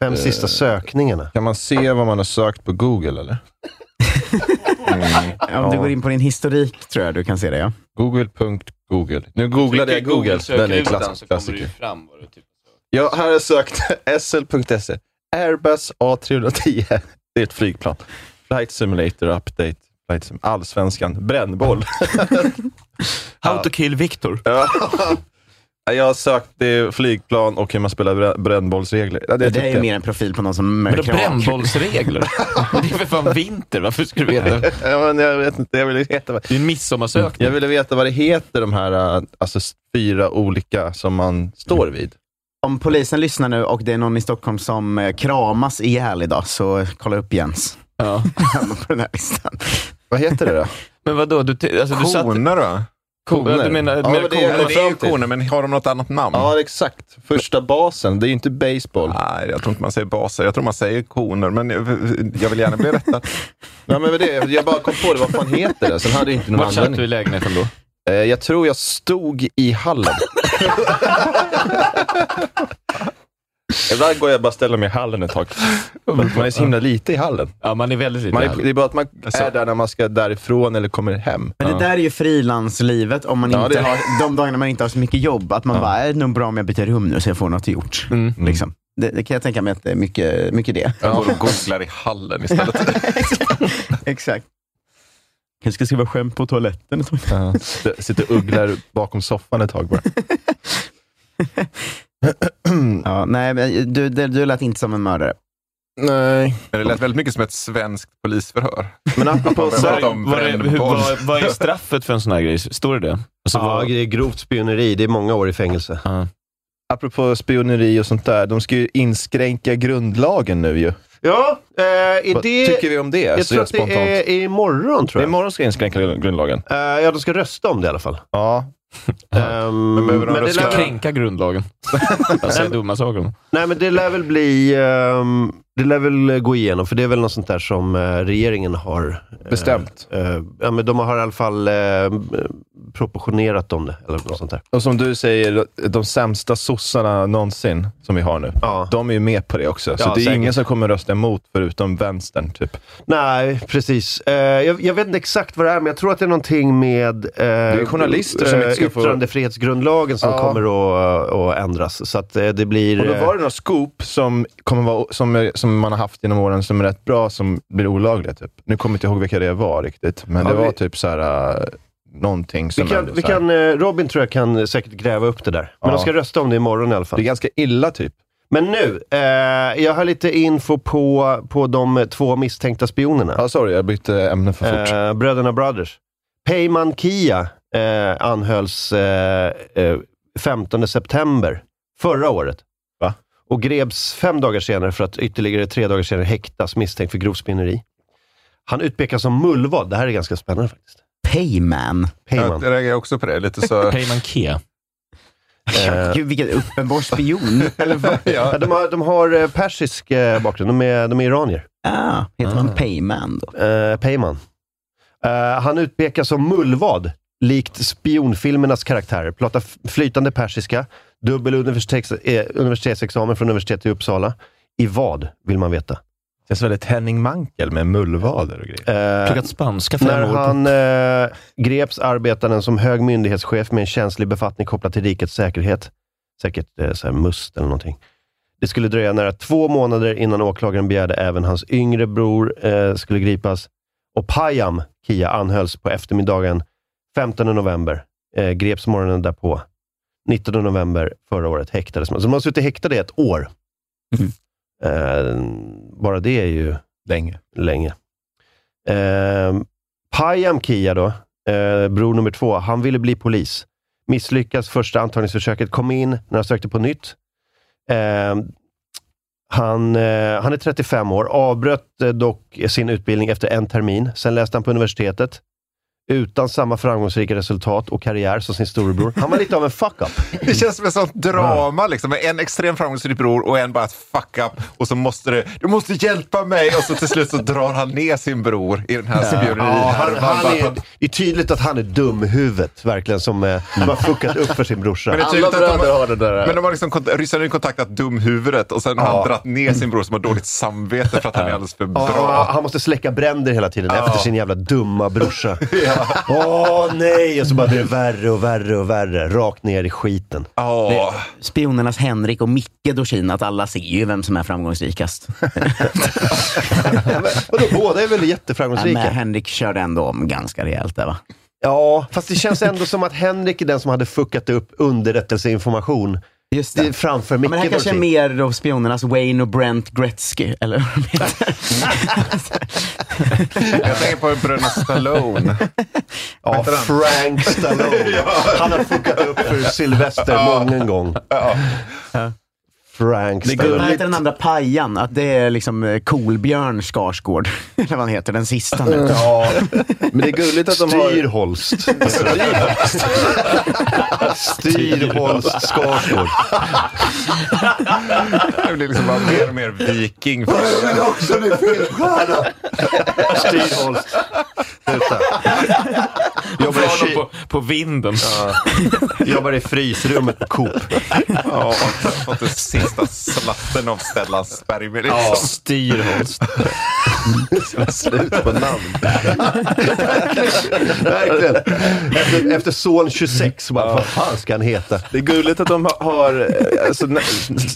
Speaker 4: Fem
Speaker 10: Eh,
Speaker 4: sista sökningarna.
Speaker 10: Kan man se vad man har sökt på Google eller?
Speaker 5: Om du går in på din historik tror jag du kan se det ja.
Speaker 10: Google.google. Nu googlade jag Google. Den är klass, klassiker. Jag här har jag sökt sl.se. E. Airbus A310. Det är ett flygplan. Flight Simulator Update. Flight Sim- Allsvenskan. Brännboll.
Speaker 8: How to kill Victor.
Speaker 10: Ja. jag har sökt det flygplan och hur man spelar brä- brännbollsregler. Ja,
Speaker 5: Det,
Speaker 10: typ
Speaker 5: är ju mer en profil på någon som
Speaker 8: Men då
Speaker 5: mörker av.
Speaker 8: brännbollsregler? Det är för fan vinter. Varför ska du veta? Det
Speaker 10: Ja, men jag vet inte. Jag ville veta vad...
Speaker 8: är en midsommarsökning.
Speaker 10: Jag ville veta vad det heter, de här äh, alltså, s- fyra olika som man står vid.
Speaker 5: Om polisen lyssnar nu och det är någon i Stockholm som eh, kramas ihjäl idag, så kolla upp Jens.
Speaker 8: Ja.
Speaker 5: på den här listan.
Speaker 10: Vad heter det då?
Speaker 8: Men vadå? Du, t- alltså, du satt...
Speaker 9: Koner va?
Speaker 8: Koner. Ja, du menar, du
Speaker 10: Ja,
Speaker 8: menar
Speaker 10: men det
Speaker 8: koner.
Speaker 9: Men
Speaker 10: är-
Speaker 9: det är ju
Speaker 10: fram till.
Speaker 9: koner, Oh, men har de något annat namn?
Speaker 10: Ja, det är exakt. Första basen. Det är ju inte baseball.
Speaker 9: Nej, jag tror inte man säger baser. Jag tror man säger koner, men jag jag vill gärna bli rättad.
Speaker 10: Ja, men vad det, är- jag bara kom på det. Vad fan heter det? Sen hade jag inte någon
Speaker 8: Vart satt du i
Speaker 10: användning.
Speaker 8: lägenheten då?
Speaker 10: Eh, Jag tror jag stod i hallen. Ibland går jag bara och ställer mig i hallen ett tag. Man är så himla lite i hallen.
Speaker 8: Ja, man är väldigt lite Alltså-
Speaker 10: Man är,
Speaker 8: här.
Speaker 10: det är bara att man är där när man ska därifrån eller kommer hem.
Speaker 5: Men det där är ju frilanslivet, om man
Speaker 10: Ja,
Speaker 5: inte
Speaker 10: det-
Speaker 5: har, de dagarna man inte har så mycket jobb. Att man bara, är det nog bra om jag byter rum nu så jag får något gjort.
Speaker 8: Mm.
Speaker 5: Liksom. Det, det kan jag tänka mig att det är mycket, mycket det.
Speaker 9: Jag går och googlar i hallen istället.
Speaker 5: Exakt. Jag ska skriva skämt på toaletten.
Speaker 10: Ja. Sitter- Sitter och ugglar bakom soffan ett tag bara.
Speaker 5: Ja, nej, men eh, du, du, du lät inte som en mördare.
Speaker 10: Nej.
Speaker 9: Men det lät väldigt mycket som ett svenskt polisförhör.
Speaker 10: Men apropå
Speaker 9: Vad är-
Speaker 10: Sverige.
Speaker 9: om
Speaker 8: Vad är, hur,
Speaker 9: brännboll.
Speaker 8: vad, vad är straffet för en sån här grej? Står det det? Alltså,
Speaker 4: Ja,
Speaker 8: vad,
Speaker 4: det är grovt spioneri. Det är många år i fängelse.
Speaker 10: apropå spioneri och sånt där, de ska ju inskränka grundlagen nu ju.
Speaker 4: Ja, eh, är
Speaker 10: Vad
Speaker 4: det...
Speaker 10: tycker vi om det?
Speaker 4: Jag
Speaker 10: Så
Speaker 4: tror att
Speaker 10: spontant.
Speaker 4: det är imorgon, tror jag.
Speaker 10: Imorgon ska inskränka grundlagen.
Speaker 4: Eh, ja, de ska rösta om det i alla fall.
Speaker 10: Ja.
Speaker 4: Ehm,
Speaker 9: Men
Speaker 8: Mm,
Speaker 9: behöver de
Speaker 4: det
Speaker 9: rösta?
Speaker 4: lär,
Speaker 8: kränka grundlagen. Jag säger dumma saker. om.
Speaker 4: Nej, men det lär väl bli... ehm, det lär väl gå igenom, för det är väl något sånt där som eh, regeringen har... eh,
Speaker 10: Bestämt.
Speaker 4: eh, ja, men de har i alla fall eh, proportionerat om det. Eller något sånt där.
Speaker 10: Och som du säger, de sämsta sossarna någonsin som vi har nu, de är ju med på det också. Så
Speaker 4: Ja,
Speaker 10: det är
Speaker 4: säkert.
Speaker 10: ingen som kommer rösta emot förutom vänstern, typ.
Speaker 4: Nej, precis. Eh, jag, jag vet inte exakt vad det är, men jag tror att det är någonting med eh, det
Speaker 10: är journalister som inte ska få-
Speaker 4: yttrandefrihetsgrundlagen som
Speaker 10: Ja.
Speaker 4: kommer att, att ändras. Så att eh, det blir...
Speaker 10: Och då
Speaker 4: eh,
Speaker 10: var det några scoop som, kommer vara, som, eh, som man har haft genom åren som är rätt bra, som blir olagliga. Typ. Nu kommer jag inte ihåg vilka det var riktigt, men
Speaker 4: Ja,
Speaker 10: det
Speaker 4: vi-
Speaker 10: var typ så här, äh, någonting som
Speaker 4: vi kan,
Speaker 10: ändå
Speaker 4: vi
Speaker 10: så här-
Speaker 4: kan, eh, Robin tror jag kan säkert gräva upp det där. Men
Speaker 10: Ja.
Speaker 4: de ska rösta om det imorgon i alla fall. Det är
Speaker 10: ganska illa typ.
Speaker 4: Men nu, eh, jag har lite info på, på de två misstänkta spionerna.
Speaker 10: Ja, sorry, jag bytte ämne för fort.
Speaker 4: Eh, Bröderna Brothers. Peyman Kia eh, anhölls eh, eh, 15 september förra året.
Speaker 10: Va?
Speaker 4: Och greps fem dagar senare för att ytterligare tre dagar senare häktas misstänkt för grovt spioneri. Han utpekas som mullvad. Det här är ganska spännande faktiskt.
Speaker 5: Payman.
Speaker 4: Payman.
Speaker 9: Jag reagerar också på det. Lite så...
Speaker 8: Payman Kia.
Speaker 4: Eh,
Speaker 5: Ja, Gud, vilken uppenbar spion. Eller vad?
Speaker 4: Ja, de, har, de har eh, persisk eh, bakgrund. De är, de är iranier.
Speaker 5: Ah, heter han Payman då?
Speaker 4: Eh, Peyman. Eh, han utpekas som mullvad, likt spionfilmernas karaktärer. Pratar f- flytande persiska, dubbel universitets eh, universitetsexamen från universitetet i Uppsala. I vad, vill man veta.
Speaker 10: känns väldigt Henning Mankel med mullvader och grejer.
Speaker 4: Eh,
Speaker 8: Pluggat spanska
Speaker 4: När
Speaker 8: fem år.
Speaker 4: han eh, greps arbetade han som hög myndighetschef med en känslig befattning kopplad till rikets säkerhet. Säkert eh, så här must eller någonting. Det skulle dröja nära två månader innan åklagaren begärde även hans yngre bror eh, skulle gripas. Och Payam Kia anhölls på eftermiddagen 15 november. Eh, greps morgonen därpå. 19 november förra året häktades man. Så de har suttit häktade i ett år. Eh, bara det är ju
Speaker 10: länge.
Speaker 4: länge. Eh, Payam Kia då, eh, bror nummer två, han ville bli polis. Misslyckas första antagningsförsöket, kom in när han sökte på nytt. Eh, han, eh, han är 35 år, avbröt eh, dock sin utbildning efter en termin. Sen läste han på universitetet. Utan samma framgångsrika resultat och karriär som sin storebror. Han var lite av en fuck-up.
Speaker 9: Det känns som ett sånt drama, liksom. med en extrem framgångsrik bror och en bara ett fuck up. Och så måste du, du måste hjälpa mig! Och så till slut så drar han ner sin bror i den här
Speaker 4: Ja, han,
Speaker 9: spionerihärvan.
Speaker 4: han är, det är tydligt att han är dum i huvudet, verkligen, som eh, som har fuckat upp för sin brorsa.
Speaker 9: Men det är tydligt att de
Speaker 10: det där.
Speaker 9: Men de har liksom, kont- ryssarna har ju kontaktat dumhuvudet och sen har han dratt ner sin bror som har dåligt samvete för att han är alldeles för
Speaker 4: Ja,
Speaker 9: bra.
Speaker 4: och han måste släcka bränder hela tiden
Speaker 9: Ja.
Speaker 4: efter sin jävla dumma brorsa. Åh nej! Och så bara blir det värre och värre och värre. Rakt ner i skiten.
Speaker 9: Ja.
Speaker 5: Spionernas Henrik och Micke Dorsin, att alla ser ju vem som är framgångsrikast.
Speaker 4: Vadå, båda är väl
Speaker 5: Nej, men
Speaker 4: jätteframgångsrika?
Speaker 5: Henrik körde ändå om ganska rejält där va?
Speaker 4: Ja, fast det känns ändå som att Henrik är den som hade fuckat upp underrättelseinformation
Speaker 5: Just det.
Speaker 4: framför
Speaker 5: Ja, men
Speaker 4: Micke.
Speaker 5: det här kanske är
Speaker 4: Dorsin.
Speaker 5: mer då spionernas Wayne och Brent Gretzky, eller vad de heter.
Speaker 9: Jag tänker på bröderna Stallone.
Speaker 4: ja,
Speaker 9: Vänta, den.
Speaker 4: Frank Stallone. Han har fuckat upp för Sylvester många gång. Frank
Speaker 5: Det är Vad
Speaker 4: Stallone.
Speaker 5: heter den andra pajan? Att det är liksom eh, Kolbjörn Skarsgård, eller vad han heter, den sista nu.
Speaker 10: Ja, men det är gulligt att de har...
Speaker 4: Styrholst. Styrholst Skarsgård.
Speaker 9: Det blir liksom bara mer och mer viking. För jag vill också bli filmstjärna!
Speaker 4: Styrholst. Sluta. Jobbar i,
Speaker 8: Jobbar
Speaker 4: ky-
Speaker 8: på, på vinden.
Speaker 4: jobbar i frysrummet på Coop.
Speaker 9: Ja, och sen fått den sista slatten av Stellans spermier. Liksom.
Speaker 4: Styrholst.
Speaker 10: Slut på namn.
Speaker 4: Verkligen. Efter, efter son 26, bara, vad fan ska han heta?
Speaker 10: Det är gulligt att de ha- har, eh, alltså, nä-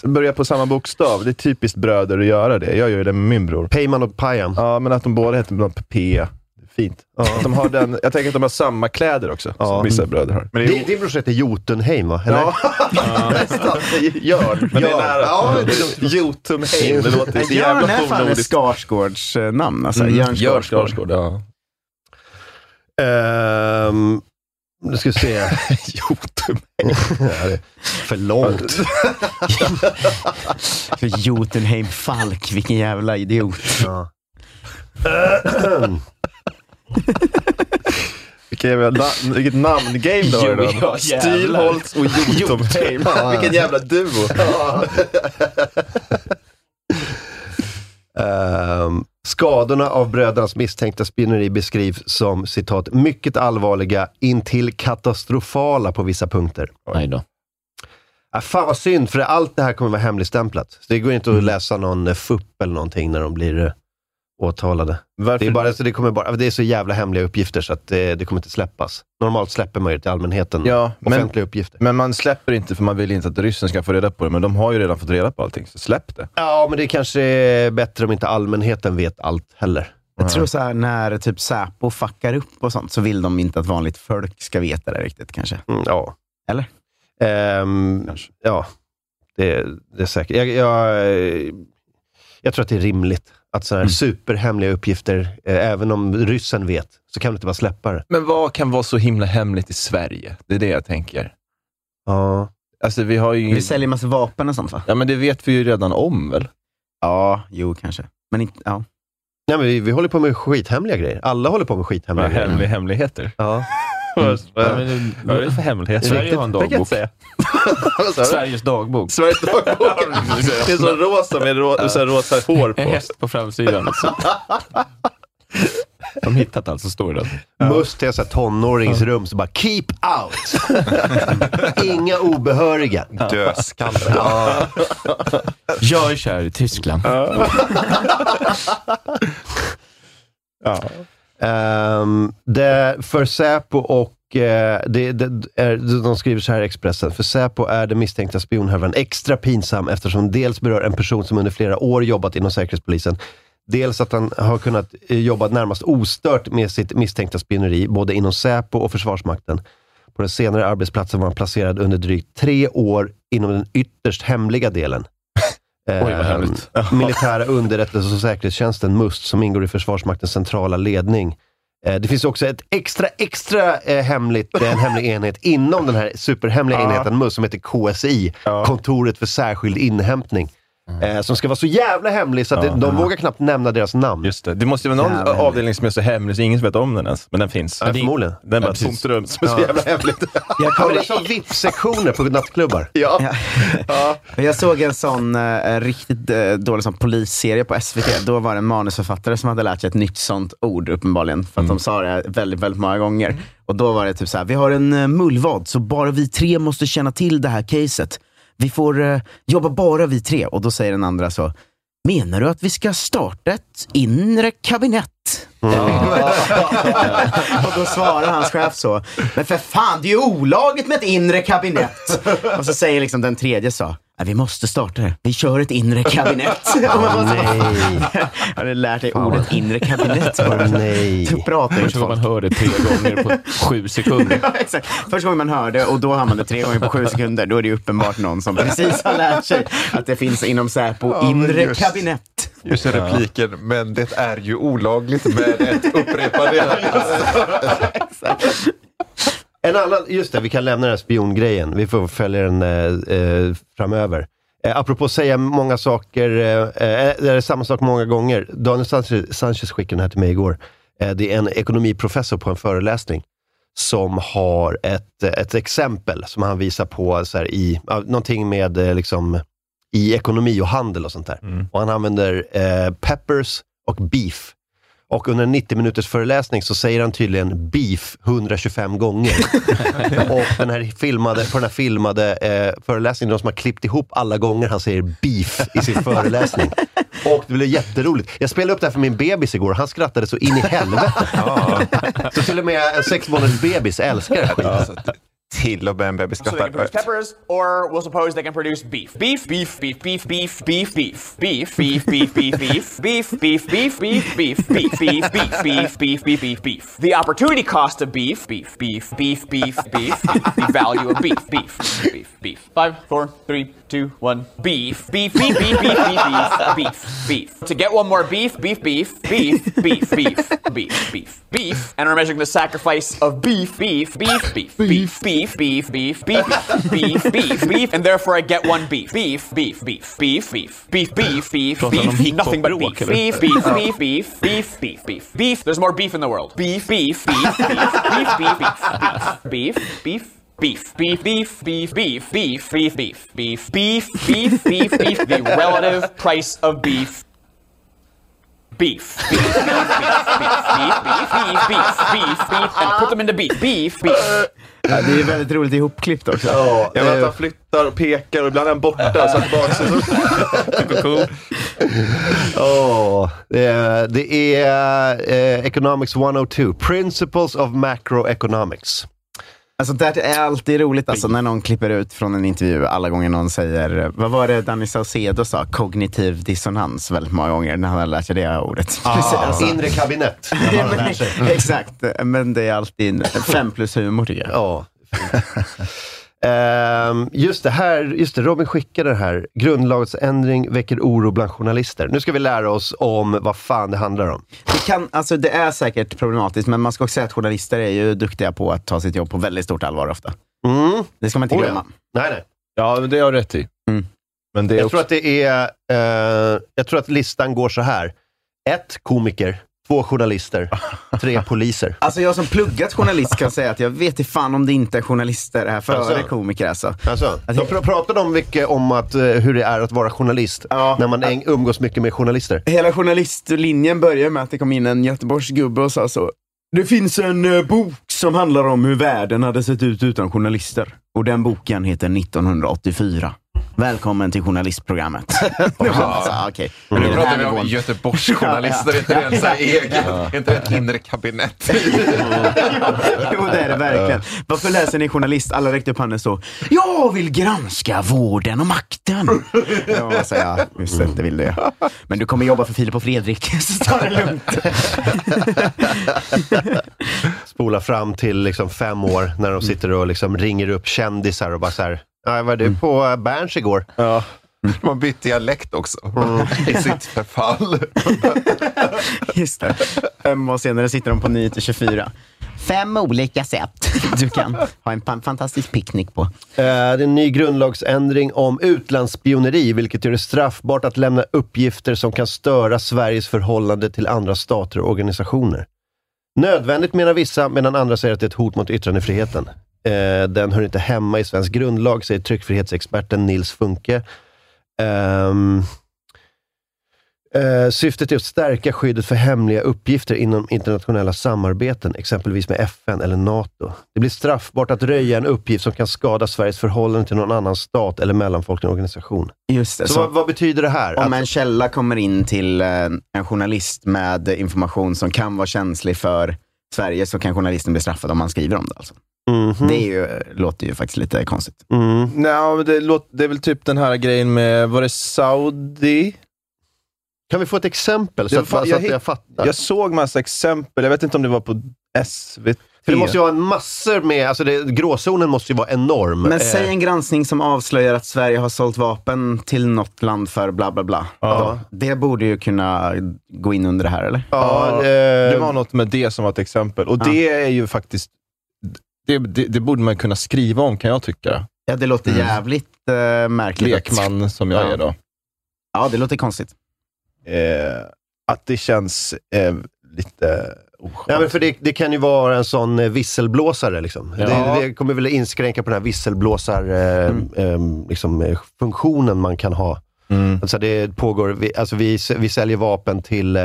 Speaker 10: börjar på samma bokstav. Det är typiskt bröder att göra det. Jag gör ju det med min bror.
Speaker 4: Peyman och Payam.
Speaker 10: Ja, men att de båda heter något P. Fint. Att De har den, jag tänker att de har samma kläder också, som vissa bröder har.
Speaker 9: Men det är
Speaker 4: Din,
Speaker 9: ju-
Speaker 4: din brorsa heter Jotunheim, va? Eller?
Speaker 10: Ja. Nästan. Jörn. Men det är nära.
Speaker 4: Ja, det
Speaker 10: Jotunheim. Det låter så
Speaker 5: Jörn
Speaker 10: jävla
Speaker 5: är fan ett
Speaker 10: fornordiskt.
Speaker 5: Skarsgårds eh, namn. Alltså. Jörn Skarsgård.
Speaker 10: ja.
Speaker 4: Ehm, nu ska vi se. Jotunheim. För långt.
Speaker 5: För Jotunheim Falk, vilken jävla idiot.
Speaker 4: Ja.
Speaker 10: Vilket, jävla na- vilket namngame du har
Speaker 8: Jo,
Speaker 10: idag.
Speaker 8: ja, jävlar.
Speaker 10: Stilholts och Jotunheim. Vilken jävla duo.
Speaker 4: Ehm, Skadorna av brödernas misstänkta spioneri beskrivs som citat, mycket allvarliga intill katastrofala på vissa punkter.
Speaker 8: Nej då.
Speaker 4: Ah, fan vad synd, för allt det här kommer vara hemligstämplat. Så det går inte
Speaker 8: Mm.
Speaker 4: att läsa någon eh, FUP eller någonting när de blir eh, åtalade. Det är, bara, så det, kommer bara, det är så jävla hemliga uppgifter så att det, det kommer inte släppas. Normalt släpper man ju till allmänheten
Speaker 10: Ja, men,
Speaker 4: offentliga uppgifter.
Speaker 10: men man släpper inte för man vill inte att ryssen ska få reda på det. Men de har ju redan fått reda på allting, så släpp det.
Speaker 4: Ja, men det kanske är bättre om inte allmänheten vet allt heller.
Speaker 5: Jag tror så här, när typ Säpo fuckar upp och sånt så vill de inte att vanligt folk ska veta det riktigt kanske.
Speaker 10: Mm,
Speaker 4: ja.
Speaker 5: Eller?
Speaker 4: Ehm, ja, det, det är säkert. Jag, jag, eh, jag tror att det är rimligt att sådana här superhemliga uppgifter, eh, även om ryssen vet, så kan man inte bara släppa det.
Speaker 10: Men vad kan vara så himla hemligt i Sverige? Det är det jag tänker.
Speaker 4: Ja.
Speaker 10: Alltså, vi har ju...
Speaker 5: Vi säljer massa vapen och sånt va?
Speaker 10: Ja, men det vet vi ju redan om väl?
Speaker 5: Ja, jo kanske. Men inte, ja.
Speaker 4: Nej, men vi, vi håller på med skithemliga grejer. Alla håller på med skithemliga
Speaker 10: Ja,
Speaker 4: grejer.
Speaker 10: hemliga hemligheter.
Speaker 4: Ja.
Speaker 10: Vad vad är det för hemlighet?
Speaker 8: Sverige har en
Speaker 10: Det kan jag inte
Speaker 8: dagbok.
Speaker 10: säga.
Speaker 8: Sveriges dagbok.
Speaker 10: Sveriges dagbok. Det är så rosa med rå, så här rosa hår
Speaker 8: En
Speaker 10: på.
Speaker 8: häst på framsidan. De hittat allt som står i den.
Speaker 4: Must till ett tonåringsrum, så bara keep out! Inga obehöriga.
Speaker 9: Dödskalle.
Speaker 4: Ja.
Speaker 8: Jag är kär i Tyskland.
Speaker 4: Ehm, det, för Säpo och eh, det, det är, de skriver så här i Expressen. För Säpo är den misstänkta spionhärvan extra pinsam eftersom dels berör en person som under flera år jobbat inom Säkerhetspolisen. Dels att han har kunnat eh, jobba närmast ostört med sitt misstänkta spioneri, både inom Säpo och Försvarsmakten. På den senare arbetsplatsen var han placerad under drygt tre år inom den ytterst hemliga delen.
Speaker 10: Oj, vad
Speaker 4: Ehm,
Speaker 10: hemligt.
Speaker 4: militära underrättelse och säkerhetstjänsten MUST, som ingår i Försvarsmaktens centrala ledning. Eh, Det finns också ett extra, extra eh, hemligt, eh, en hemlig enhet inom den här superhemliga enheten MUST, som heter KSI, Kontoret för särskild inhämtning.
Speaker 10: Mm.
Speaker 4: eh, Som ska vara så jävla hemlig så att det, de vågar knappt nämna deras namn.
Speaker 10: Just det. det måste ju vara någon
Speaker 4: Jävlar.
Speaker 10: avdelning som är så hemlig så ingen vet om den ens. Men den finns.
Speaker 4: Ja, förmodligen.
Speaker 10: Den är bara ett
Speaker 8: Ja,
Speaker 10: tomt rum som är så
Speaker 4: Ja.
Speaker 10: jävla hemligt.
Speaker 5: Jag,
Speaker 4: Ja, men det är
Speaker 5: kollade-
Speaker 4: som VIP-sektioner på nattklubbar.
Speaker 10: Ja.
Speaker 5: Men Jag såg en sån eh, riktigt eh, dålig sån polisserie på SVT. Då var det en manusförfattare som hade lärt sig ett nytt sånt ord uppenbarligen. För att de sa det här väldigt, väldigt många gånger. Och då var det typ så här, vi har en eh, mullvad så bara vi tre måste känna till det här caset. Vi får eh, jobba bara vi tre. Och då säger den andra så, menar du att vi ska starta ett inre kabinett? och då svarar hans chef så. Men för fan, det är ju olagligt med ett inre kabinett. Och så säger liksom den tredje så. "Nej, Vi måste starta det. Vi kör ett inre kabinett. Och man bara så,
Speaker 4: Nej.
Speaker 5: Jag hade lärt dig ordet inre kabinett.
Speaker 4: Åh, nej.
Speaker 5: Så pratar ju inte
Speaker 8: Första gången
Speaker 5: folk.
Speaker 8: man hör det tre gånger på sju sekunder.
Speaker 5: Ja, exakt. Första gången man hörde och då har man det tre gånger på sju sekunder, då är det ju uppenbart någon som precis har lärt sig att det finns inom Säpo
Speaker 9: Ja, men
Speaker 5: inre
Speaker 9: just.
Speaker 5: kabinett.
Speaker 9: Just den repliken, men det är ju olagligt med ett upprepande.
Speaker 4: En annan, just det, vi kan lämna den här spiongrejen. Vi får följa den eh, eh, framöver. Eh, apropå säga många saker, eh, eh, det är samma sak många gånger. Daniel Sanchez, Sanchez skickade den här till mig igår. Eh, det är en ekonomiprofessor på en föreläsning som har ett, eh, ett exempel som han visar på så här, i, ja, någonting med eh, liksom, i ekonomi och handel och sånt där. Och han använder eh, peppers och beef. Och under en 90 minuters föreläsning så säger han tydligen beef 125 gånger. och den här filmade, på den här filmade eh, föreläsningen, de som har klippt ihop alla gånger han säger beef i sin föreläsning. Och det blev jätteroligt. Jag spelade upp det här för min bebis igår och han skrattade så in i helvete. Så till och med en sex månaders bebis älskar det här skiten.
Speaker 9: Alltså, Till och med en bebis
Speaker 11: So they can
Speaker 9: skrattar.
Speaker 11: produce peppers, or we'll suppose they can produce beef. Beef, beef, beef, beef, beef, beef, beef, beef, beef, beef, beef, beef, beef, beef, beef, beef, beef, beef, beef, beef, beef, beef, beef, beef, beef. The opportunity cost of beef, beef, beef, beef, beef, beef, the value of beef, beef, beef, beef. Five, four, three, two, one. Beef, beef, beef, beef, beef, beef, beef, beef, beef. To get one more beef, beef, beef, beef, beef, beef, beef, beef, beef, and we're measuring the sacrifice of beef, beef, beef, beef, beef, beef, beef, beef, beef, beef, beef, beef, and therefore I get one beef, beef, beef, beef, beef, beef, beef, beef, beef, beef, nothing but beef, beef, beef, beef, beef, beef, beef, beef, beef. There's more beef in the world. Beef, beef, beef, beef, beef, beef, beef, beef, beef. Beef, beef, beef, beef, beef, beef, beef, beef, beef, beef, beef, beef, beef, the relative price of beef beef, beef, beef, beef, beef, beef, beef, beef, beef, beef, and put them in the beef, beef, beef.
Speaker 5: Ja, det är väldigt roligt ihopklippt också.
Speaker 10: Ja, eh, jag vet att han flyttar och pekar och ibland är han borta så att baksidan...
Speaker 4: Åh, det är, det är eh, Economics 102. Principles of Macroeconomics.
Speaker 5: Alltså, det är alltid roligt alltså, när någon klipper ut från en intervju alla gånger någon säger, vad var det Danny Saucedo sa? Kognitiv dissonans väldigt många gånger när han har lärt sig det ordet. Precis, alltså.
Speaker 4: Ah. Inre kabinett. Det har han lärt sig.
Speaker 5: Exakt, men det är alltid fem plus humor tycker jag.
Speaker 4: Ja. Ehm, just det, här, just det, Robin skickade det här. Grundlagsändring väcker oro bland journalister. Nu ska vi lära oss om vad fan det handlar om.
Speaker 5: Det, kan, alltså, det är säkert problematiskt, men man ska också säga att journalister är ju duktiga på att ta sitt jobb på väldigt stort allvar ofta.
Speaker 4: Mm.
Speaker 5: Det ska man inte
Speaker 4: Oh ja.
Speaker 5: glömma.
Speaker 4: Nej, nej.
Speaker 10: Ja, men det har jag rätt i.
Speaker 5: Mm.
Speaker 10: Men det är
Speaker 4: Jag
Speaker 10: också...
Speaker 4: tror att det är... eh, jag tror att listan går så här. Ett, komiker. Två, journalister. Tre, poliser.
Speaker 5: Alltså jag som pluggat journalist kan säga att jag vet i fan om det inte är journalister här före
Speaker 4: Alltså.
Speaker 5: komiker alltså.
Speaker 4: Alltså, de pr- pratade om mycket om att, eh, hur det är att vara journalist, när man äng- umgås mycket med journalister.
Speaker 5: Hela journalistlinjen börjar med att det kom in en Göteborgsgubbe och sa så. Det finns en eh, bok som handlar om hur världen hade sett ut utan journalister. Och den boken heter 1984. Välkommen till journalistprogrammet. Det var så, ah, Okej.
Speaker 9: Men
Speaker 5: Det
Speaker 9: nu
Speaker 5: är den
Speaker 9: pratar
Speaker 5: här
Speaker 9: vi om
Speaker 5: nivån.
Speaker 9: Göteborgsjournalister, inte ens så här eget, inte ett inre kabinett.
Speaker 5: Jo, det är det verkligen. Varför läser ni journalist? Alla räckte upp handen så. Jag vill granska vården och makten. Jag bara så, ja, just
Speaker 9: Mm.
Speaker 5: det, det vill du ja. Men du kommer jobba för Filip och Fredrik, så ta det lugnt.
Speaker 4: Spola fram till liksom fem år, när
Speaker 9: Mm.
Speaker 4: de sitter och liksom ringer upp kändisar och bara så här. "Ja, Var
Speaker 9: Mm.
Speaker 4: du på Berns igår? Mm.
Speaker 10: Ja.
Speaker 9: De har bytt dialekt också, i sitt förfall.
Speaker 5: Just det. Fem år senare sitter de på 9 till 24. Fem olika sätt du kan ha en pan- fantastisk picknick på.
Speaker 4: Eh, Det är en ny grundlagsändring om utlandsspioneri, vilket gör det straffbart att lämna uppgifter som kan störa Sveriges förhållande till andra stater och organisationer. Nödvändigt menar vissa, medan andra säger att det är ett hot mot yttrandefriheten. Eh, Den hör inte hemma i svensk grundlag, säger tryckfrihetsexperten Nils Funke. Ehm, eh, Syftet är att stärka skyddet för hemliga uppgifter inom internationella samarbeten, exempelvis med FN eller NATO. Det blir straffbart att röja en uppgift som kan skada Sveriges förhållande till någon annan stat eller mellanfolklig organisation.
Speaker 5: Just det.
Speaker 4: Så, vad, vad betyder det här?
Speaker 5: Om en källa kommer in till eh, en journalist med information som kan vara känslig för Sverige så kan journalisten bli straffad om man skriver om det. Alltså.
Speaker 4: Mhm.
Speaker 5: Det är ju, eh, låter ju faktiskt lite konstigt.
Speaker 4: Mm.
Speaker 10: Nej, men det, låt, det är väl typ den här grejen med, var det Saudi?
Speaker 4: Kan vi få ett exempel så
Speaker 10: Det
Speaker 4: att,
Speaker 10: var-
Speaker 4: så att
Speaker 10: hitt-
Speaker 4: jag fattar?
Speaker 10: jag såg massa exempel, jag vet inte om det var på SVT.
Speaker 4: För det måste ju ha en massor med... Alltså det, gråzonen måste ju vara enorm.
Speaker 5: Men
Speaker 4: Eh,
Speaker 5: säg en granskning som avslöjar att Sverige har sålt vapen till något land för bla bla bla.
Speaker 10: Ja.
Speaker 5: Då, det borde ju kunna gå in under det här, eller?
Speaker 4: ja,
Speaker 10: Ja,
Speaker 4: eh,
Speaker 10: Det var något med det som var ett exempel. Och det är ju faktiskt... Det, det, det borde man kunna skriva om, kan jag tycka.
Speaker 5: Ja, det låter
Speaker 10: Mm.
Speaker 5: jävligt eh, märkligt.
Speaker 10: Lekman som jag
Speaker 5: Ja.
Speaker 10: är då.
Speaker 5: Ja, det låter konstigt.
Speaker 10: Eh, att det känns eh, lite oskönt.
Speaker 4: Ja, men för det, det kan ju vara en sån eh, visselblåsare. Liksom.
Speaker 10: Ja.
Speaker 4: Det, det kommer väl inskränka på den här visselblåsarfunktionen eh, eh, liksom, eh, funktionen man kan ha.
Speaker 10: Mm.
Speaker 4: Alltså det pågår, vi, alltså vi, s- vi säljer vapen till eh,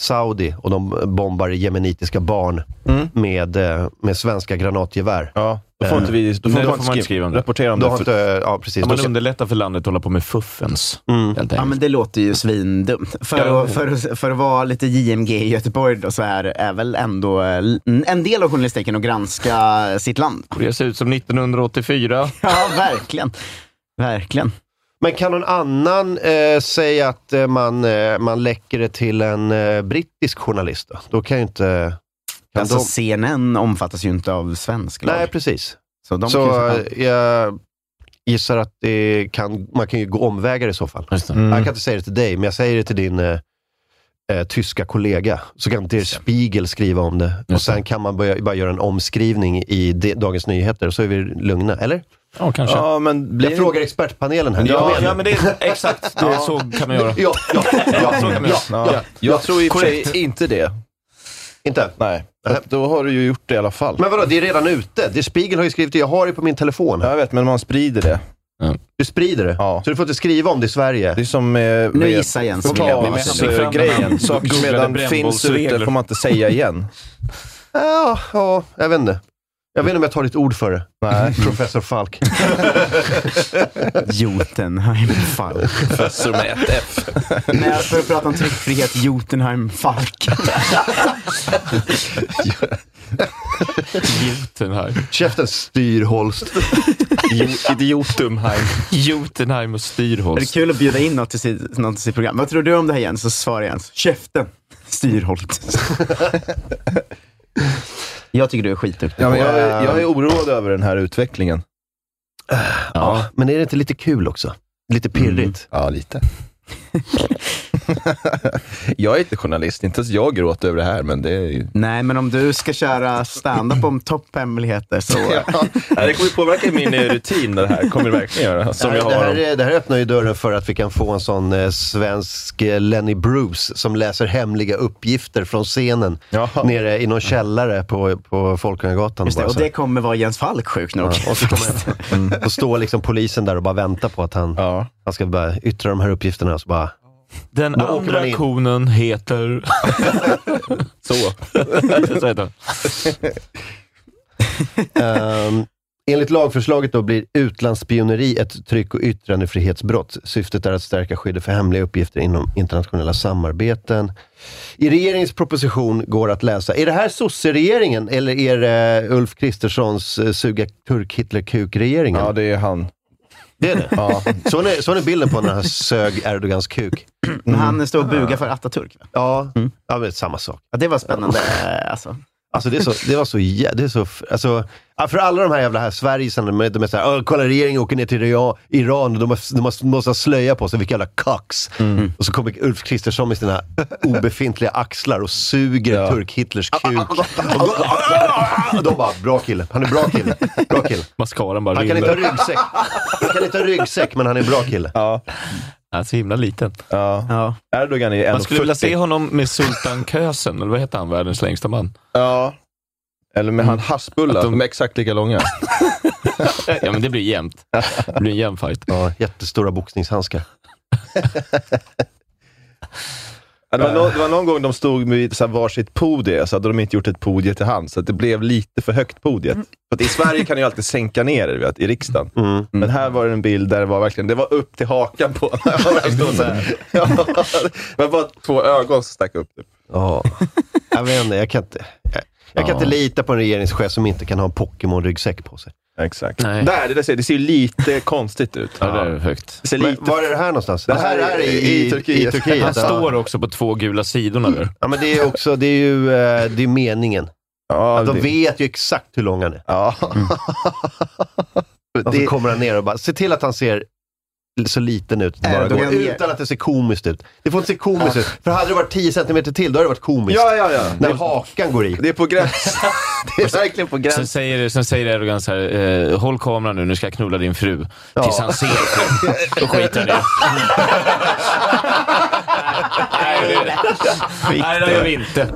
Speaker 4: Saudi och de bombar jemenitiska barn
Speaker 10: Mm.
Speaker 4: med, eh, med svenska granatgevär.
Speaker 10: Ja, då får
Speaker 4: Eh,
Speaker 10: inte vi... Då får,
Speaker 8: Nej, då
Speaker 10: man,
Speaker 8: får man inte skriva om det.
Speaker 10: Rapportera om
Speaker 4: Då
Speaker 10: det.
Speaker 4: har
Speaker 10: För,
Speaker 4: inte, ja, precis.
Speaker 8: Man
Speaker 4: Då-
Speaker 8: underlättar för landet att hålla på med fuffens.
Speaker 4: Mm.
Speaker 8: Helt
Speaker 5: Ja,
Speaker 8: enkelt.
Speaker 5: men det låter ju svindumt. För att, för, att- för att vara lite JMG i Göteborg då, så är, är väl ändå eh, en del av journalistiken att granska sitt land.
Speaker 8: Det ser ut som 1984.
Speaker 5: Ja, verkligen. Verkligen.
Speaker 4: Men kan någon annan eh, säga att eh, man, eh, man läcker det till en eh, brittisk journalist? Då, då kan ju inte... Kan
Speaker 5: Alltså,
Speaker 4: de...
Speaker 5: CNN omfattas ju inte av svensk lag.
Speaker 4: Nej, precis.
Speaker 5: Så de kan ju
Speaker 4: Så
Speaker 5: sätta-
Speaker 4: eh, jag gissar att det kan, man kan ju gå omvägar i så fall.
Speaker 8: Just det.
Speaker 4: Jag kan inte säga det till dig, men jag säger det till din eh, eh, tyska kollega. Så kan Der Spiegel skriva om det. Och
Speaker 8: Just
Speaker 4: sen kan man börja, bara göra en omskrivning i D- Dagens Nyheter, och så är vi lugna. Eller?
Speaker 8: Ja, kanske.
Speaker 10: ja, men blir
Speaker 4: Jag frågar expertpanelen här. Kom
Speaker 8: Ja,
Speaker 4: igen nu.
Speaker 8: ja, men det är exakt det, så kan man göra.
Speaker 4: ja, ja, ja,
Speaker 8: Så kan man
Speaker 4: ja,
Speaker 8: göra.
Speaker 10: Ja, jag tror i och för sig inte det.
Speaker 4: Inte?
Speaker 10: Nej, för att då har du ju gjort det i alla fall.
Speaker 4: Men vadå, det är redan ute. Der Spiegel har ju skrivit det. Jag har det på min telefon.
Speaker 10: Ja, jag vet, men man sprider det.
Speaker 4: Du sprider det. Så du får inte skriva om det i Sverige. Det är
Speaker 10: som eh,
Speaker 4: Nu
Speaker 10: vet-
Speaker 4: gissar Jens.
Speaker 10: Potatisgrejen. Saker som redan finns ute får man inte säga igen.
Speaker 4: Ja, ja, jag vet inte. Jag vet inte om jag tar ditt ord för det.
Speaker 10: Nej.
Speaker 4: Professor Falk.
Speaker 5: Jotunheim Falk.
Speaker 10: Professor med ett F.
Speaker 5: När jag började prata om tryckfrihet, Jotunheim Falk.
Speaker 8: Jotunheim.
Speaker 4: Käften Styrholst.
Speaker 10: Idiotumheim.
Speaker 8: Jotunheim och
Speaker 5: Det är
Speaker 8: Styrholst.
Speaker 5: kul att bjuda in något till, sitt, något till sitt program. Vad tror du om det här Jens? Så svarar Jens, käften. Styrholt. jag tycker du är skitduktig. Eh,
Speaker 10: Ja, men jag, är- jag är oroad över den här utvecklingen.
Speaker 4: Ja, men är det inte lite kul också? Lite pirrigt?
Speaker 10: Mm. Ja, lite. jag är inte journalist, inte ens jag gråter över det här, men det är ju...
Speaker 5: Nej, men om du ska köra stand-up om topphemligheter så...
Speaker 10: Nej, det kommer ju påverka min eh, rutin det här, kommer det verkligen göra. Som
Speaker 4: det,
Speaker 10: jag
Speaker 4: här, det,
Speaker 10: har om-
Speaker 4: här, det här öppnar ju dörren för att vi kan få en sån eh, svensk eh, Lenny Bruce som läser hemliga uppgifter från scenen nere i någon källare på, på Folkungagatan.
Speaker 5: Just det,
Speaker 4: bara
Speaker 5: och
Speaker 4: så här.
Speaker 5: det kommer vara Jens Falk sjukt nog.
Speaker 4: Ja, och så kommer mm. och står liksom polisen där och bara väntar på att han, han ska bara yttra de här uppgifterna. Så bara,
Speaker 8: Den
Speaker 4: Då åker man
Speaker 8: andra
Speaker 4: in.
Speaker 8: konen heter...
Speaker 10: Så.
Speaker 8: Så heter den.
Speaker 4: Ehm, enligt lagförslaget då blir utlandsspioneri ett tryck och yttrandefrihetsbrott. Syftet är att stärka skyddet för hemliga uppgifter inom internationella samarbeten. I regeringens proposition går att läsa, är det här sosseregeringen eller är det Ulf Kristerssons eh, suga turk hitler kuk regeringen
Speaker 10: Ja, det är han.
Speaker 4: Det är det?
Speaker 10: Ja.
Speaker 4: Såg ni, såg ni bilden på när han sög Erdogans kuk?
Speaker 5: Men han står och bugar för Atatürk. va?
Speaker 4: Ja, ja men samma sak.
Speaker 5: Ja, det var spännande. eh, Alltså.
Speaker 4: Alltså det, är så, det var så... jä- Det är så alltså, ja, för alla de här jävla här sverigesarna, de är- de är såhär, "Åh, kolla regeringen åker ner till Ria- Iran och de, har, de har, måste ha slöja på sig, vilka jävla kax. Och så kommer Ulf Kristersson med sina obefintliga axlar och suger turk-Hitlers kuk. och de bara, bra kille, han är bra kille. Bra kille.
Speaker 8: Mascaran bara
Speaker 4: Han kan
Speaker 8: rinner.
Speaker 4: inte ha ryggsäck. Han kan inte ha ryggsäck, men han är en bra kille.
Speaker 10: Ja.
Speaker 8: Han är så himla liten.
Speaker 10: Ja. Erdogan är
Speaker 8: Man skulle vilja
Speaker 10: 1,40.
Speaker 8: se honom med Sultan Kösen, eller vad heter han, världens längsta man? Mm.
Speaker 10: Ja. Eller med han Hasbulla,
Speaker 8: Att
Speaker 10: de...
Speaker 8: de-
Speaker 10: de är exakt lika långa.
Speaker 8: Ja, men det blir jämnt. Det blir en jämn fight.
Speaker 4: Ja, jättestora boxningshandskar.
Speaker 10: Ja, det, var
Speaker 4: Äh.
Speaker 10: nå- det var någon gång de stod med så här varsitt podie, så hade de inte gjort ett podie till hand, så att det blev lite för högt podiet. För att I Sverige kan du ju alltid sänka ner det, vet, i riksdagen.
Speaker 4: Mm.
Speaker 10: Men här var det en bild där det var verkligen det var upp till hakan på. Han stod så
Speaker 8: Mm.
Speaker 10: här. ja, det var bara två ögon som stack upp. Typ.
Speaker 4: Ja, jag vet inte. Jag kan inte, jag, jag kan
Speaker 10: Ja.
Speaker 4: inte lita på en regeringschef som inte kan ha en Pokémon-ryggsäck på sig.
Speaker 10: Exakt. Där, det, där ser, det ser ju lite konstigt ut.
Speaker 8: Ja, det är högt.
Speaker 10: Det ser
Speaker 4: Men
Speaker 10: lite...
Speaker 4: var är det här någonstans?
Speaker 10: Det här är i-
Speaker 4: i Turkiet.
Speaker 8: Han
Speaker 4: ja.
Speaker 8: står också på två gula sidorna där.
Speaker 4: Ja, men det är också, det är ju eh, det är meningen.
Speaker 10: Ja,
Speaker 4: Att de
Speaker 10: det-
Speaker 4: vet ju exakt hur lång han är.
Speaker 10: Ja.
Speaker 4: Och så kommer han ner och bara, se till att han ser så liten ut. det Bara
Speaker 5: Erdogan
Speaker 4: går,
Speaker 5: ger-
Speaker 4: utan att det ser komiskt ut. Det får inte se komiskt ut. För hade det varit 10 centimeter till, då hade det varit komiskt.
Speaker 10: Ja, ja, ja.
Speaker 4: När hakan går i.
Speaker 10: Det är på gränsen. det är verkligen på
Speaker 8: Sen
Speaker 10: gränsen.
Speaker 8: säger, sen säger Erdogan så här, eh, håll kameran nu, nu ska jag knulla din fru. Tills han ser fru. Då skiter han i det. Nej, det gör vi inte.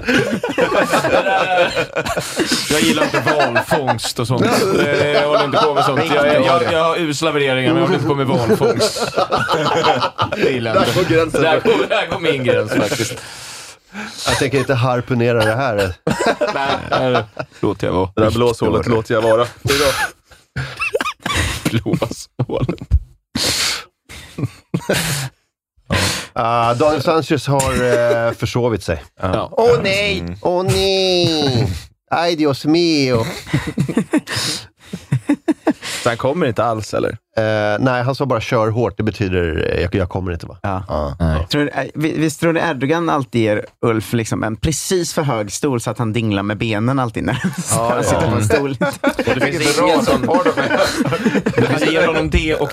Speaker 8: Jag gillar inte valfångst och sånt. Eh, Jag håller inte på med sånt. Jag, jag, jag, jag har usla värderingar, men jag håller inte på med valfångst. Det gillar jag
Speaker 10: Där går gränsen.
Speaker 8: Där går, där går min gräns faktiskt.
Speaker 4: Jag tänker inte harpunera det här.
Speaker 8: Där låter jag vara.
Speaker 10: Det där blåshålet låter jag vara. Hejdå.
Speaker 8: Blåshålet.
Speaker 4: Ah, Daniel Sanchez har eh, försovit sig.
Speaker 8: Ja.
Speaker 4: Åh nej! Åh nej! Ay Dios mio!
Speaker 10: Så han kommer inte alls eller?
Speaker 4: Eh, nej, han sa bara kör hårt. Det betyder eh, jag, jag kommer inte va?
Speaker 5: Ja.
Speaker 10: Ja.
Speaker 5: Tror, eh, vi- visst tror ni Erdogan alltid ger Ulf liksom en precis för hög stol så att han dinglar med benen alltid när
Speaker 10: Ja,
Speaker 5: han
Speaker 10: ja.
Speaker 5: sitter på en stol?
Speaker 8: Och det finns ingen som... Han ger honom det och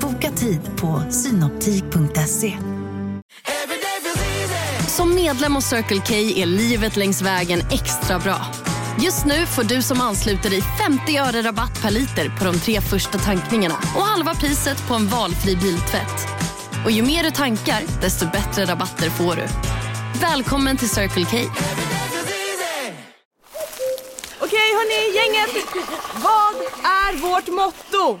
Speaker 12: Boka tid på synoptik.se.
Speaker 13: Som medlem hos Circle K är livet längs vägen extra bra. Just nu får du som ansluter dig 50 öre rabatt per liter på de tre första tankningarna och halva priset på en valfri biltvätt. Och ju mer du tankar, desto bättre rabatter får du. Välkommen till Circle K.
Speaker 14: Okej hörni, gänget. Vad är vårt motto?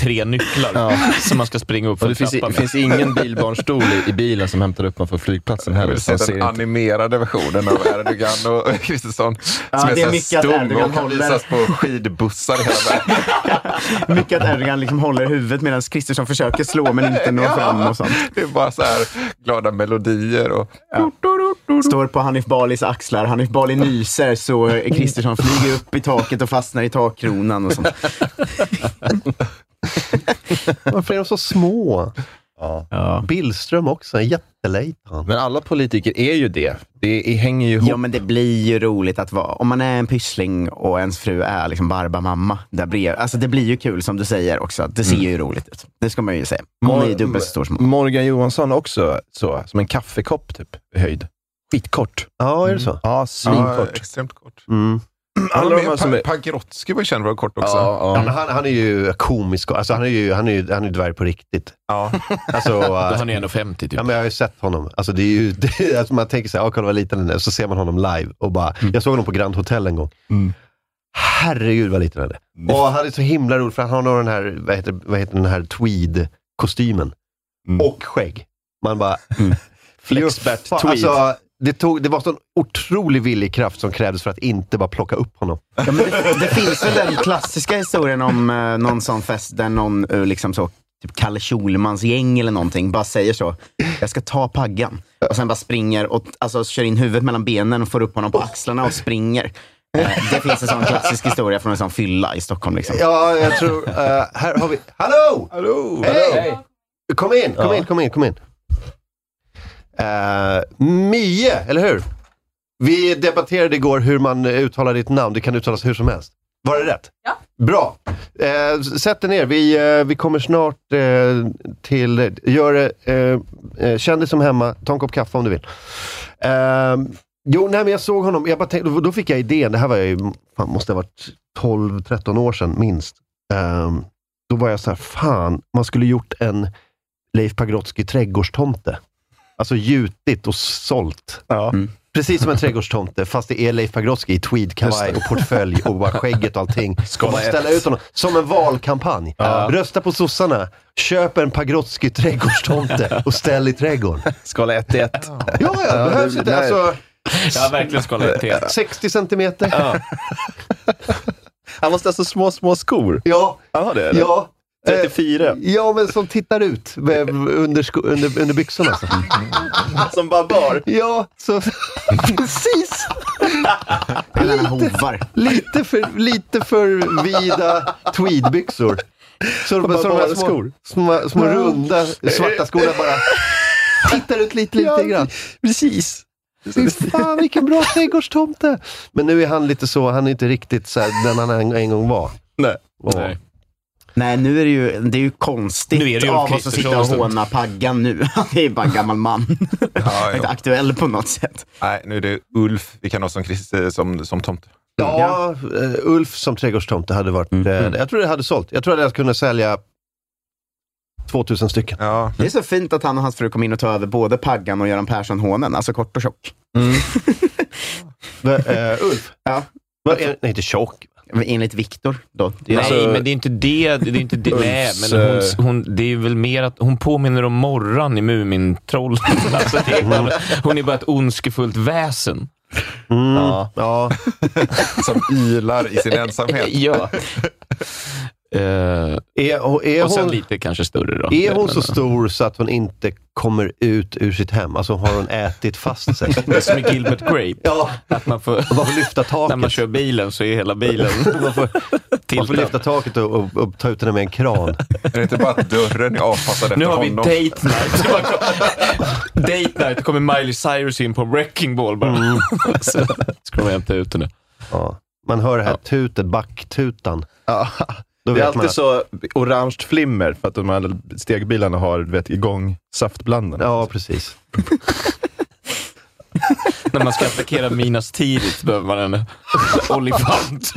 Speaker 8: Tre nycklar som man ska springa upp
Speaker 10: Och
Speaker 8: för
Speaker 10: det finns, i-
Speaker 8: trappan
Speaker 10: det
Speaker 8: med.
Speaker 10: finns ingen bilbarnstol i, i bilen som hämtar upp man från flygplatsen
Speaker 9: Jag
Speaker 10: heller.
Speaker 9: vill se
Speaker 10: Man ser
Speaker 9: den
Speaker 10: inte.
Speaker 9: animerade versionen av Erdogan och Kristersson.
Speaker 5: Ja,
Speaker 9: som är,
Speaker 5: det är
Speaker 9: så här
Speaker 5: mycket att
Speaker 9: stum
Speaker 5: Erdogan
Speaker 9: och kan
Speaker 5: håller.
Speaker 9: visas på skidbussar hela världen.
Speaker 5: Mycket att Erdogan liksom håller huvudet medan Kristersson försöker slå men inte når fram och sånt.
Speaker 9: Det är bara så här glada melodier. Och...
Speaker 5: Står på Hanif Balis axlar. Hanif Bali nyser så Kristersson flyger upp i taket och fastnar i takkronan och sånt.
Speaker 4: Varför är de så små? Billström också, en jättelejtan.
Speaker 10: Men alla politiker är ju det.
Speaker 5: Det hänger ju ihop. Ja, men det blir ju roligt att vara... Om man är en pyssling och ens fru är liksom barbamamma där bredvid. Alltså det blir ju kul som du säger också. att Det ser
Speaker 10: Mm.
Speaker 5: ju roligt ut. Det ska man ju säga. Hon är ju dubbelt så stor som
Speaker 10: Morgan Johansson också så, som en kaffekopp typ i höjd. Skitkort. Mm.
Speaker 4: Ja, är det så?
Speaker 10: Ja,
Speaker 9: Ja,
Speaker 10: svinkort.
Speaker 9: extremt kort.
Speaker 4: Mm.
Speaker 9: Alla
Speaker 10: Alla
Speaker 9: de
Speaker 10: de här som är-
Speaker 9: Pagrotsky var ju känd för att vara kort också.
Speaker 4: Ja, men han, han är ju komisk. Alltså, han är ju han är, ju- han är dvärg på riktigt.
Speaker 9: Ja.
Speaker 4: Alltså,
Speaker 8: Då
Speaker 4: eh,
Speaker 8: är han ju 1,50 typ.
Speaker 4: Ja, men jag har ju sett honom. Alltså, det är ju, det är, alltså, man tänker så här, "Ah, kolla vad liten han är. Så ser man honom live och bara,
Speaker 8: Mm.
Speaker 4: jag såg honom på Grand Hotel en gång.
Speaker 5: Mm.
Speaker 4: Herregud vad liten han är. Och han är så himla rolig, för han har nog den här, vad heter, vad heter den här tweed-kostymen.
Speaker 5: Mm.
Speaker 4: Och skägg. Man bara, just that
Speaker 10: tweed.
Speaker 4: Alltså, det, tog, det var sån otrolig villig kraft som krävdes för att inte bara plocka upp honom.
Speaker 5: Ja, men det, det finns väl den klassiska historien om eh, någon sån fest där någon eh, liksom så, typ Kalle Schulmans gäng eller någonting bara säger så. Jag ska ta paggan. Och sen bara springer och alltså, kör in huvudet mellan benen och får upp honom på axlarna och springer. Eh, det finns en sån klassisk historia från en sån fylla i Stockholm. Liksom.
Speaker 4: Ja, jag tror... eh, här har vi... Hallå!
Speaker 9: Hallå!
Speaker 4: Hej! Kom in, kom in, kom in, kom in. Eh, Mie, eller hur? Vi debatterade igår hur man uttalar ditt namn. Det kan uttalas hur som helst. Var det rätt? Ja. Bra. Eh, sätt dig ner. Vi, eh, vi kommer snart eh, till... Gör det. eh, eh, Känn dig som hemma. Ta en kopp kaffe om du vill. Eh, jo, nej, men jag såg honom. Jag bara tänkte, då fick jag idén. Det här var jag ju, fan, måste ha varit 12-13 år sedan, minst. Eh, då var jag så här, fan, man skulle gjort en Leif Pagrotsky trädgårdstomte. Alltså gjutit och sålt. Precis som en trädgårdstomte, fast det är Leif Pagrotsky i tweedkavaj och portfölj och bara skägget och allting. Ska
Speaker 10: man
Speaker 4: ställa
Speaker 10: ett-
Speaker 4: ut honom som en valkampanj.
Speaker 10: Ja.
Speaker 4: Rösta på sossarna, köp en Pagrotsky trädgårdstomte och ställ i trädgården.
Speaker 10: Skala 1 till 1.
Speaker 4: Ja, ja, det behövs inte. Alltså,
Speaker 8: Jag har verkligen skalat till.
Speaker 4: 60 centimeter.
Speaker 10: Han måste ha så små, små skor.
Speaker 4: Ja.
Speaker 10: Han har det, eller?
Speaker 4: Ja. Eh,
Speaker 10: 34.
Speaker 4: Ja, men som tittar ut med- under, sko- under, under byxorna. Så.
Speaker 10: Som barbar.
Speaker 4: Ja, så, precis.
Speaker 5: Eller han hovar.
Speaker 4: Lite för, lite för vida tweedbyxor. Så,
Speaker 10: Bara
Speaker 4: så, så de här små,
Speaker 10: barnskor.
Speaker 4: små, små runda svarta skorna bara tittar ut lite, lite grann.
Speaker 10: Precis.
Speaker 4: Fy fan vilken bra trädgårdstomte! Men nu är han lite så, han är inte riktigt så här, den han en, en gång var.
Speaker 10: Nej.
Speaker 4: Nej.
Speaker 5: Nej, nu är det ju, det är ju konstigt
Speaker 4: Nu är det ju
Speaker 5: av oss att
Speaker 4: Kristersson
Speaker 5: sitta och
Speaker 4: och sånt.
Speaker 5: håna paggan nu. Han är ju bara en gammal man.
Speaker 9: Ja,
Speaker 5: Inte aktuell på något sätt.
Speaker 9: Nej, nu är det Ulf vi kan ha som, Christ- som, som tomte.
Speaker 4: Ja, eh, Ulf som trädgårdstomte hade varit...
Speaker 5: Mm.
Speaker 4: eh, Jag tror det hade sålt. Jag tror det hade kunnat sälja 2000 stycken.
Speaker 9: Ja.
Speaker 5: Det är så fint att han och hans fru kom in och tog över både Paggan och Göran Persson-hånen, alltså kort och tjock.
Speaker 4: Ulf?
Speaker 5: Ja.
Speaker 4: nej, inte tjock.
Speaker 5: Enligt Viktor då.
Speaker 8: Nej,
Speaker 4: alltså-
Speaker 8: men det är alltså- inte det. det, är inte det. Nej,
Speaker 5: Ulfs,
Speaker 8: men hon,
Speaker 5: eh,
Speaker 8: hon, det är väl mer att hon påminner om Morran i Mumintrollen. Alltså, det är
Speaker 4: Mm.
Speaker 8: bara- hon är bara ett ondskefullt väsen.
Speaker 4: Mm. Ja.
Speaker 9: Som ylar i sin ensamhet.
Speaker 8: ja.
Speaker 4: och, Eh, är
Speaker 8: och sen
Speaker 4: hon-
Speaker 8: lite kanske större då.
Speaker 4: Är hon
Speaker 8: Men, eh,
Speaker 4: så stor så att hon inte kommer ut ur sitt hem? Alltså har hon ätit fast sig?
Speaker 8: eh, Det är som i Gilbert Grape.
Speaker 4: Ja.
Speaker 8: Att man får,
Speaker 4: lyfta taket.
Speaker 8: När man kör bilen så är hela bilen... Man får,
Speaker 4: Man får lyfta taket och, och, och ta ut henne med en kran.
Speaker 9: Är det inte bara att dörren är avpassad efter
Speaker 8: nu har vi
Speaker 9: honom?
Speaker 8: date night. Det bara kom- date night. Då kommer Miley Cyrus in på en wrecking ball bara. så ska de hämta ut henne.
Speaker 4: Ja. Man hör det här tutet, backtutan.
Speaker 10: Ja.
Speaker 4: Då
Speaker 10: det är
Speaker 4: vet man
Speaker 10: alltid
Speaker 4: att-
Speaker 10: så orange flimmer för att de här stegbilarna har du vet, igång saftblandarna.
Speaker 4: Ja, precis.
Speaker 8: När man ska attackera Minas tidigt behöver man en olifant.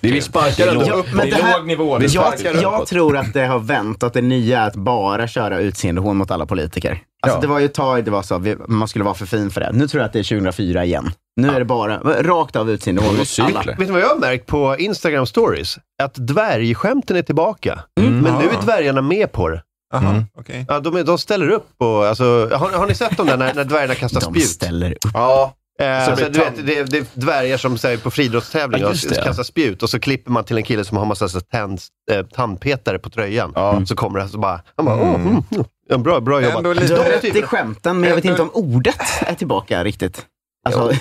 Speaker 10: Det är vi sparkar
Speaker 8: Det är
Speaker 10: ändå
Speaker 8: låg-
Speaker 10: uppåt.
Speaker 8: det är
Speaker 10: Det här-
Speaker 8: låg nivå. Vi
Speaker 5: Jag,
Speaker 8: sparkar
Speaker 5: jag
Speaker 8: uppåt.
Speaker 5: tror att det har vänt, att det nya är att bara köra utseendehån mot alla politiker. Alltså, Det var ju ett tag det var så, vi, man skulle vara för fin för det. Nu tror jag att det är 2004 igen. Nu är det bara rakt av utseendehån mot alla.
Speaker 4: Vet du vad jag har märkt på Instagram stories? Att dvärgskämten är tillbaka. Men nu är dvärgarna med på det.
Speaker 9: Mm. okej.
Speaker 4: Ja, de, är- de ställer upp och... Alltså, har, har ni sett dem där när, när dvärgarna kastar spjut? De
Speaker 5: ställer upp.
Speaker 4: Ja. Eh,
Speaker 10: Så
Speaker 4: så
Speaker 10: blir
Speaker 4: du
Speaker 10: tam-
Speaker 4: vet, det, är- det är dvärgar som säger på friidrottstävling
Speaker 10: Ja,
Speaker 4: och
Speaker 10: just det.
Speaker 4: kastar spjut och så klipper man till en kille som har massa så tänd, eh, tandpetare på tröjan. Så kommer det så bara... Han bara,
Speaker 5: Mm.
Speaker 4: "Åh, mm. mm, ja, Bra, bra jobbat.
Speaker 5: De
Speaker 4: De är
Speaker 5: är
Speaker 4: typ-
Speaker 5: skämten, men jag vet inte om ordet är tillbaka riktigt. Alltså, det-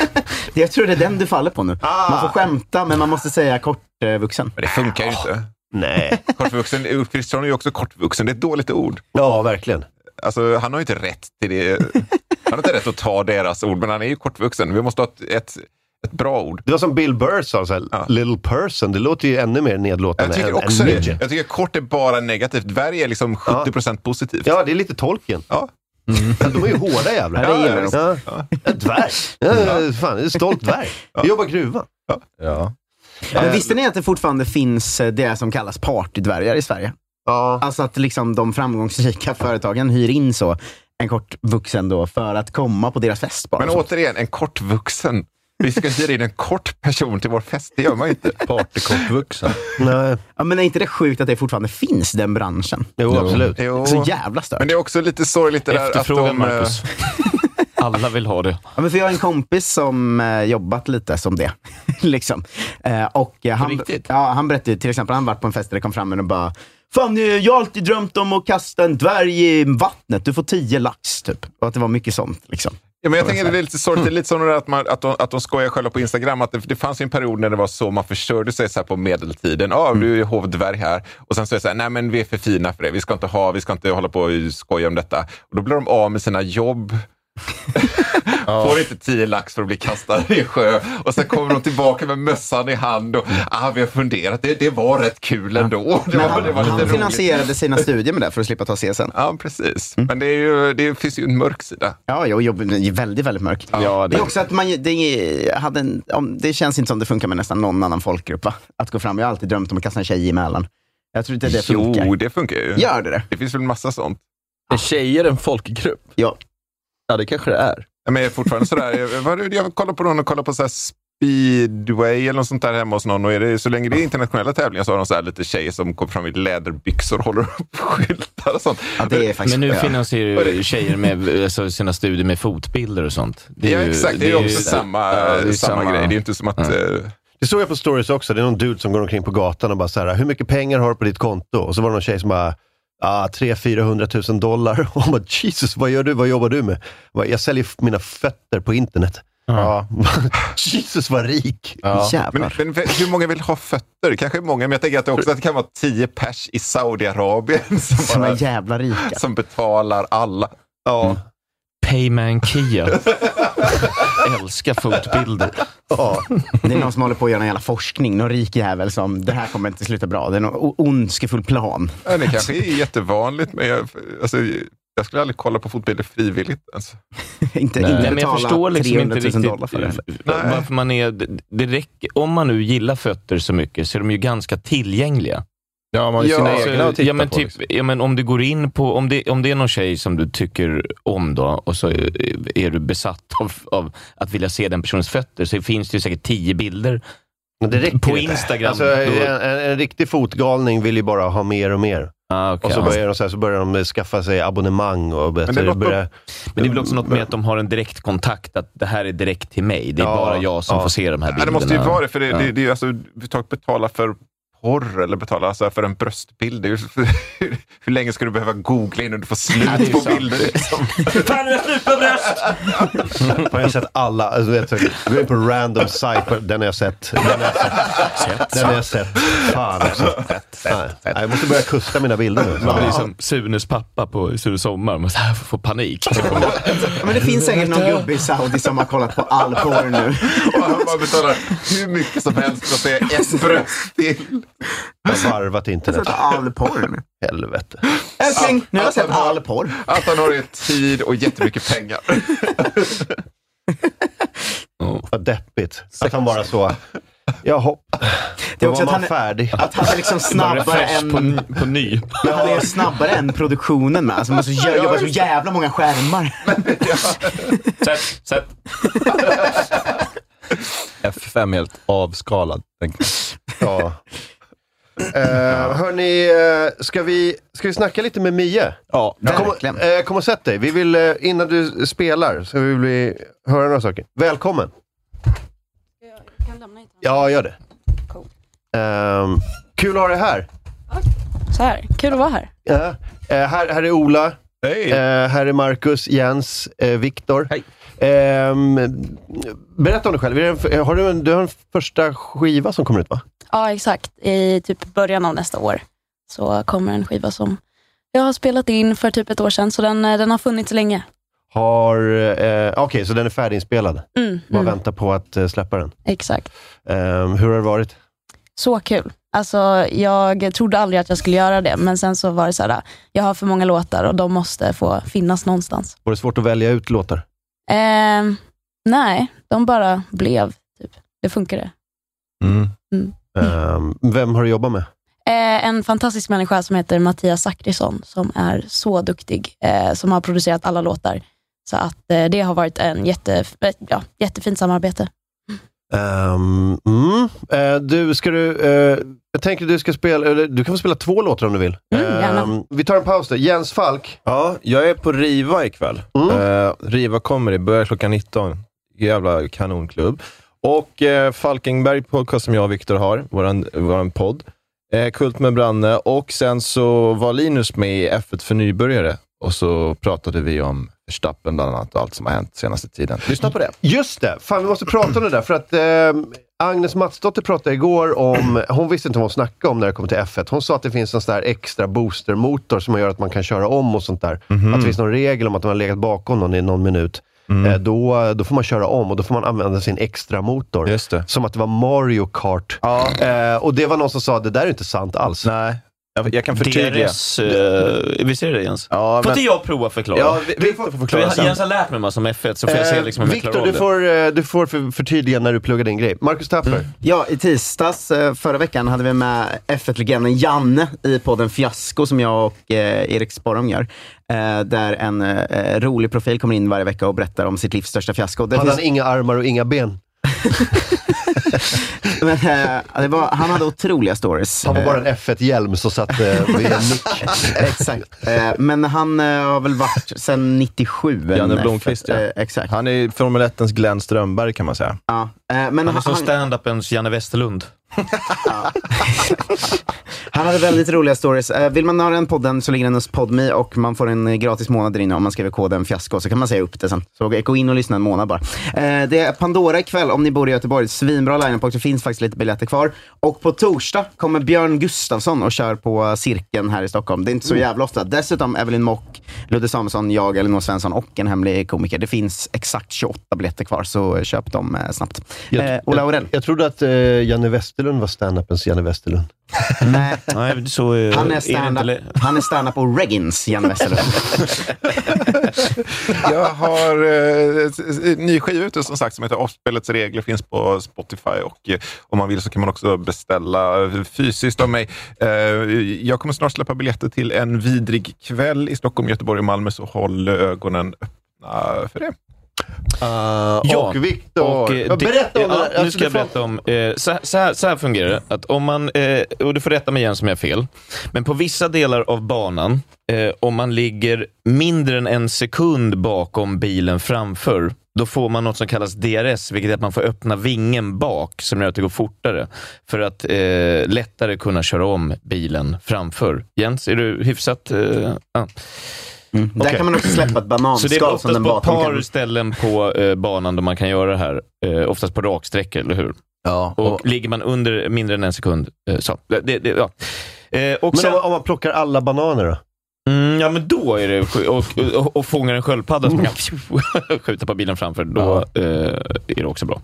Speaker 5: jag tror det är den du faller på nu.
Speaker 4: Ah.
Speaker 5: Man får skämta, men man måste säga eh, kortvuxen.
Speaker 9: Men det funkar ju inte.
Speaker 4: Nej.
Speaker 9: Kortvuxen, Ulf Kristersson är ju också kortvuxen. Det är ett dåligt ord.
Speaker 4: Ja, verkligen.
Speaker 9: Alltså, han har ju inte rätt till det. Han har inte rätt att ta deras ord, men han är ju kortvuxen. Vi måste ha ett, ett, ett bra ord.
Speaker 4: Det var som Bill Burr sa, så här, little person. Det låter ju ännu mer
Speaker 9: Jag
Speaker 4: nedlåtande
Speaker 9: tycker
Speaker 4: än,
Speaker 9: också
Speaker 4: än
Speaker 9: det.
Speaker 4: midget.
Speaker 9: Jag tycker kort är bara negativt. Dvärg är liksom 70 procent positivt.
Speaker 4: Ja, det är lite tolken.
Speaker 9: Ja.
Speaker 4: De är ju hårda jävlar.
Speaker 9: Ja, det gillar
Speaker 4: ja, ja. En dvärg. Ja, fan, det är en stolt dvärg. Jag jobbar gruva.
Speaker 10: Ja.
Speaker 5: Men visste ni att det fortfarande finns eh, det som kallas partydvärgar i Sverige?
Speaker 4: Ja.
Speaker 5: Alltså att liksom de framgångsrika företagen hyr in så en kortvuxen då för att komma på deras fest. Bara.
Speaker 9: Men återigen, en kortvuxen. Vi ska inte hyra in en kort person till vår fest. Det gör man ju inte.
Speaker 10: Partykortvuxen.
Speaker 4: Nej.
Speaker 5: Ja, men är inte det sjukt att det fortfarande finns, den branschen?
Speaker 4: Jo, absolut.
Speaker 9: Jo.
Speaker 5: Så jävla stört.
Speaker 9: Men det är också lite sorgligt det där att
Speaker 5: Efterfrågan,
Speaker 9: de... eh,
Speaker 5: Marcus.
Speaker 8: Alla vill ha det.
Speaker 5: Ja, men för jag har en kompis som eh, jobbat lite som det. liksom. eh, och, eh, han, ja, han berättade ju, till exempel, han varit på en fest där det kom fram en och bara Fan, eh, jag har alltid drömt om att kasta en dvärg i vattnet. Du får tio lax, typ. Och att det var mycket sånt. Liksom.
Speaker 9: Ja, men jag tänker det är lite sorgligt,
Speaker 5: Mm.
Speaker 9: Det är lite som det där att, man, att, de, att de skojar själva på Instagram. Att det, det fanns ju en period när det var så man försörjde sig så här på medeltiden. Ja,
Speaker 5: Mm.
Speaker 9: du är hovdvärg här. Och sen så är det så här, nej men vi är för fina för det. Vi ska inte ha, vi ska inte hålla på och skoja om detta. Och då blir de av med sina jobb. Får inte tio lax för att bli kastade i en sjö. Och sen kommer de tillbaka med mössan i hand och ah, vi har funderat. Det, det var rätt kul ändå. Det
Speaker 5: Men
Speaker 9: var, det
Speaker 5: han
Speaker 9: var lite
Speaker 5: han
Speaker 9: roligt.
Speaker 5: finansierade sina studier med det för att slippa ta CSN.
Speaker 9: Ja, precis.
Speaker 5: Mm.
Speaker 9: Men det, är ju, det finns ju en mörk sida.
Speaker 5: Ja, jo, jo, den är väldigt, väldigt mörk.
Speaker 8: Ja,
Speaker 5: det... Men också att man, ju- det, är- hade en, om, det känns inte som det funkar med nästan någon annan folkgrupp. Va? Att gå fram. Jag har alltid drömt om att kasta en tjej i Mälaren. Jag tror inte det funkar.
Speaker 9: Jo, det funkar ju.
Speaker 5: Gör det det?
Speaker 9: Det finns väl massa sånt.
Speaker 10: Är tjejer en folkgrupp?
Speaker 5: Ja.
Speaker 10: Ja, det kanske det är.
Speaker 9: Ja, Men jag är fortfarande sådär, jag, vad- jag kollar på någon och kollar på så här speedway eller något sånt där hemma hos någon och är det, så länge det är internationella tävlingar så har de så här lite tjejer som går fram i läderbyxor och håller upp skyltar och sånt.
Speaker 8: Men nu
Speaker 9: Ja.
Speaker 8: finansierar
Speaker 9: Och
Speaker 8: ju
Speaker 9: det-
Speaker 8: tjejer med, alltså, sina studier med fotbilder och sånt.
Speaker 9: Ja, exakt. Det är också samma-
Speaker 8: det är
Speaker 9: samma grej. Det är inte som att,
Speaker 10: Mm.
Speaker 9: eh,
Speaker 4: Det såg jag på stories också. Det är någon dude som går omkring på gatan och bara så här, hur mycket pengar har du på ditt konto? Och så var det någon tjej som bara, ah, 300 000 dollar. Och hon bara, Jesus, vad gör du? Vad jobbar du med? Jag, bara, jag säljer f- mina fötter på internet.
Speaker 10: Ja.
Speaker 4: Jesus, vad rik!
Speaker 9: Men, men hur många vill ha fötter? Kanske många, men jag tänker att det, också, att det kan vara tio pers i Saudiarabien som,
Speaker 5: Som
Speaker 9: bara,
Speaker 5: är jävla rika.
Speaker 9: som betalar alla.
Speaker 4: Ja.
Speaker 8: Mm. Payman Kia. Älskar fotbilder.
Speaker 4: Ja.
Speaker 5: Det är någon som håller på att göra någon jävla forskning. Någon rik jävel som, det här kommer inte sluta bra. Det är någon o- ondskefull plan.
Speaker 9: Ja, det kanske är jättevanligt, men jag, alltså, jag skulle aldrig kolla på fotbilder frivilligt. Alltså.
Speaker 5: inte,
Speaker 8: Nej,
Speaker 5: inte
Speaker 8: men jag
Speaker 5: betala
Speaker 8: förstår liksom
Speaker 5: 300 000
Speaker 8: inte riktigt
Speaker 5: dollar för det. heller.
Speaker 8: varför man är... det- Det räcker, om man nu gillar fötter så mycket så är de ju ganska tillgängliga.
Speaker 10: Ja, man har ju sina egna att titta
Speaker 8: ja, men
Speaker 10: på,
Speaker 8: Typ,
Speaker 10: liksom.
Speaker 8: ja, men om du går in på, om det, om det är någon tjej som du tycker om då och så är, är du besatt av, av att vilja se den personens fötter så finns det ju säkert tio bilder
Speaker 4: Men det räcker
Speaker 8: på
Speaker 4: inte.
Speaker 8: Instagram.
Speaker 4: Alltså,
Speaker 8: Då-
Speaker 4: en, en, en riktig fotgalning vill ju bara ha mer och mer.
Speaker 8: Ah,
Speaker 4: Och så börjar, de, så, här, så börjar de skaffa sig abonnemang och börjar...
Speaker 8: Men det, låter,
Speaker 4: börjar,
Speaker 8: men det är väl också något med att de har en direktkontakt, att det här är direkt till mig. Det är
Speaker 4: Ja,
Speaker 8: bara jag som
Speaker 4: ja.
Speaker 8: får se de här bilderna.
Speaker 4: Ja,
Speaker 9: det måste ju vara det, för det,
Speaker 8: Ja.
Speaker 9: det, det är ju alltså, vi tar betala för porr eller betala alltså, för en bröstbild. Det är ju, hur, hur länge ska du behöva googla innan du får slut på bilder? Liksom?
Speaker 4: Fan, det är slut på bröst! har jag sett alla. Alltså, vet, du, gå in på random site. på- Den har jag sett. Den har jag sett. Den har jag sett. Fan också. Nej, nej, jag måste börja kusta mina bilder nu.
Speaker 8: Man blir som Sunes pappa på Sunes sommar. Man så här får panik.
Speaker 5: Ja, men det finns säkert någon gubbe i Saudi som har kollat på all porr nu.
Speaker 9: Och han bara betalar hur mycket som helst för att se ett bröst till.
Speaker 4: Jag har varvat internet.
Speaker 5: All porr.
Speaker 4: Helvete.
Speaker 5: Älskling, nu har jag sett all porr.
Speaker 9: Att han har ju tid och jättemycket pengar.
Speaker 4: Vad deppigt. Att han bara så. Jaha.
Speaker 5: Det
Speaker 4: Det
Speaker 5: är
Speaker 4: var
Speaker 5: också
Speaker 4: man
Speaker 5: att han är-
Speaker 4: färdig.
Speaker 5: Att han är liksom snabbare än...
Speaker 8: på ny.
Speaker 5: Men han är snabbare än produktionen med. Alltså man måste jä- jobba så jävla många skärmar.
Speaker 8: Sätt, sätt.
Speaker 10: F5 är helt avskalad. tänker
Speaker 4: jag. Eh, hörni, eh, ska vi, ska vi snacka lite med Mie?
Speaker 10: Ja,
Speaker 4: verkligen. Kom, eh, kom och sätt dig. Vi vill, eh, innan du spelar så vill vi höra några saker. Välkommen! Ja, gör det. Ehm, kul att ha dig här.
Speaker 15: Så här, kul att vara här.
Speaker 4: Ja. Eh, här, här är Ola. Eh, här är Marcus, Jens, eh, Viktor. Ehm, berätta om dig själv. Är det en f- Har du, en, du har en första skiva som kommer ut, va?
Speaker 15: Ja, exakt. I typ början av nästa år så kommer en skiva som jag har spelat in för typ ett år sedan, så den, eh, den har funnits länge.
Speaker 4: Har... Eh, Okej, så den är färdiginspelad.
Speaker 15: Mm,
Speaker 4: Bara
Speaker 15: mm.
Speaker 4: vänta på att eh, släppa den.
Speaker 15: Exakt.
Speaker 4: Ehm, hur har det varit?
Speaker 15: Så kul. Alltså, jag trodde aldrig att jag skulle göra det, men sen så var det så här, "Ah, jag har för många låtar och de måste få finnas någonstans.
Speaker 4: Var det svårt att välja ut låtar?
Speaker 15: Ehm, nej, de bara blev. Typ. Det funkade. Mm.
Speaker 4: Ehm, vem har du jobbat med?
Speaker 15: Eh, en fantastisk människa som heter Mattias Zachrisson, som är så duktig, eh, som har producerat alla låtar. Så att eh, det har varit en jätte, eh, ja, jättefint samarbete.
Speaker 4: Ehm, mm. Eh, du, ska du... eh, jag tänker du ska spela... Eller, du kan få spela två låtar om du vill.
Speaker 15: Mm, gärna.
Speaker 4: Ehm, vi tar en paus då. Jens Falk.
Speaker 10: Ja, jag är på Riva ikväll.
Speaker 5: Mm.
Speaker 10: Eh, Riva Comedy börjar klockan 19. Jävla kanonklubb. Och eh, Falkenberg podcast som jag och Viktor har, våran, våran podd. Eh, Kult med Branne och sen så var Linus med i F1 för nybörjare och så pratade vi om Verstappen bland annat och allt som har hänt senaste tiden. Lyssna på det.
Speaker 4: Just det! Fan, vi måste prata om det där. För att ehm, Agnes Matsdotter pratade igår om... Hon visste inte vad hon snackade om när det kom till F1. Hon sa att det finns en sån där extra boostermotor som gör att man kan köra om och sånt där.
Speaker 10: Mhm.
Speaker 4: Att det finns någon regel om att om man har legat bakom någon i någon minut. eh, Då, då får man köra om och då får man använda sin extra motor.
Speaker 10: Just det.
Speaker 4: Som att det var Mario Kart. Eh, och det var någon som sa, det där är inte sant alls.
Speaker 10: Nej, jag, jag kan förtydliga.
Speaker 8: Deras, eh, visst är det det Jens?
Speaker 10: Ja,
Speaker 8: Får
Speaker 10: men-
Speaker 8: inte jag prova förklara?
Speaker 10: Ja, vi- Viktor får förklara
Speaker 8: För
Speaker 10: sen.
Speaker 8: Jens har lärt mig massor om F1, så får
Speaker 5: Eh,
Speaker 8: jag se liksom om jag klarar
Speaker 4: Viktor,
Speaker 8: av
Speaker 4: Eh, du
Speaker 8: det.
Speaker 4: får, eh, du får för, förtydliga när du pluggar din grej. Marcus Tapper.
Speaker 5: Ja, i tisdags eh, förra veckan hade vi med F1-legenden Janne i podden Fiasko som jag och eh, Erik Sporrong gör. Eh, där en eh, rolig profil kommer in varje vecka och berättar om sitt livs största fiasko. Det
Speaker 4: Hade
Speaker 5: finns-
Speaker 4: han inga armar och inga ben?
Speaker 5: Men, eh, det var, han hade otroliga stories.
Speaker 4: Han var bara en F1-hjälm som satt eh, vid en nick.
Speaker 5: Exakt. Eh, men han eh, har väl varit sedan 97. en
Speaker 10: Janne
Speaker 5: F1.
Speaker 10: Blomqvist, ja.
Speaker 5: exakt.
Speaker 10: Han är Formel 1 Glenn Strömberg kan man säga.
Speaker 5: Ja, eh, men
Speaker 8: Han är
Speaker 5: han,
Speaker 8: som stand-upens Janne Westerlund.
Speaker 5: han hade väldigt roliga stories. Eh, vill man ha den podden så ligger den hos Podmi och man får en eh, gratis månad där inne om man skriver koden fiasko så kan man säga upp det sen. Så gå in och lyssna en månad bara. Eh, det är Pandora ikväll om ni bor i Göteborg. Svinbra lineup och det finns faktiskt lite biljetter kvar. Och på torsdag kommer Björn Gustafsson och kör på eh, Cirkeln här i Stockholm. Det är inte
Speaker 8: Mm.
Speaker 5: så jävla ofta. Dessutom Evelyn Mock, Ludde Samuelsson, jag, Elinor Svensson och en hemlig komiker. Det finns exakt 28 biljetter kvar så eh, köp dem eh, snabbt. Eh, Ola Aurell.
Speaker 4: Jag trodde att eh, Janne Westerlund var standupens Janne Westerlund.
Speaker 5: Nej.
Speaker 8: Nej, så, eh,
Speaker 5: Han är
Speaker 8: det inte le-
Speaker 5: stand-up Han är stand-up och Reggins, Janne Westerlund.
Speaker 9: Jag har eh, s- s- ny skiva ute som sagt som heter Offspelets regler, finns på Spotify och eh, om man vill så kan man också beställa eh, fysiskt av mig. Eh, jag kommer snart släppa biljetter till en vidrig kväll i Stockholm, Göteborg och Malmö, så håll ögonen öppna för det.
Speaker 8: Ah,
Speaker 4: och Viktor. Ja,
Speaker 8: eh, det-
Speaker 4: berätta om det
Speaker 8: ja,
Speaker 4: där.
Speaker 8: Nu
Speaker 4: Alltså,
Speaker 8: ska jag
Speaker 4: det
Speaker 8: berätta om... Eh, så, här- så, här, så här fungerar det. Att om man, eh, och du får rätta mig igen som jag har fel. Men på vissa delar av banan, eh, om man ligger mindre än en sekund bakom bilen framför, då får man något som kallas DRS, vilket är att man får öppna vingen bak, som gör att det går fortare, för att eh, lättare kunna köra om bilen framför. Jens, är du hyfsat... Eh, ja.
Speaker 5: Där
Speaker 8: Mm. Okej.
Speaker 5: kan man också släppa ett
Speaker 8: Så det är
Speaker 5: bananskal som
Speaker 8: oftast
Speaker 5: den
Speaker 8: på ett
Speaker 5: bakom
Speaker 8: par
Speaker 5: kan...
Speaker 8: ställen på eh, banan där man kan göra det här. Eh, oftast på raksträckor, eller hur?
Speaker 5: Ja.
Speaker 8: Och, ligger man under mindre än en sekund, eh, så. Det, det, ja. Eh, och
Speaker 4: Men
Speaker 8: sen,
Speaker 4: om, om man plockar alla bananer då?
Speaker 8: mm, ja, men då är det sj- och, och, och fångar en sköldpadda som man kan skjuta på bilen framför. Då eh, är det också bra.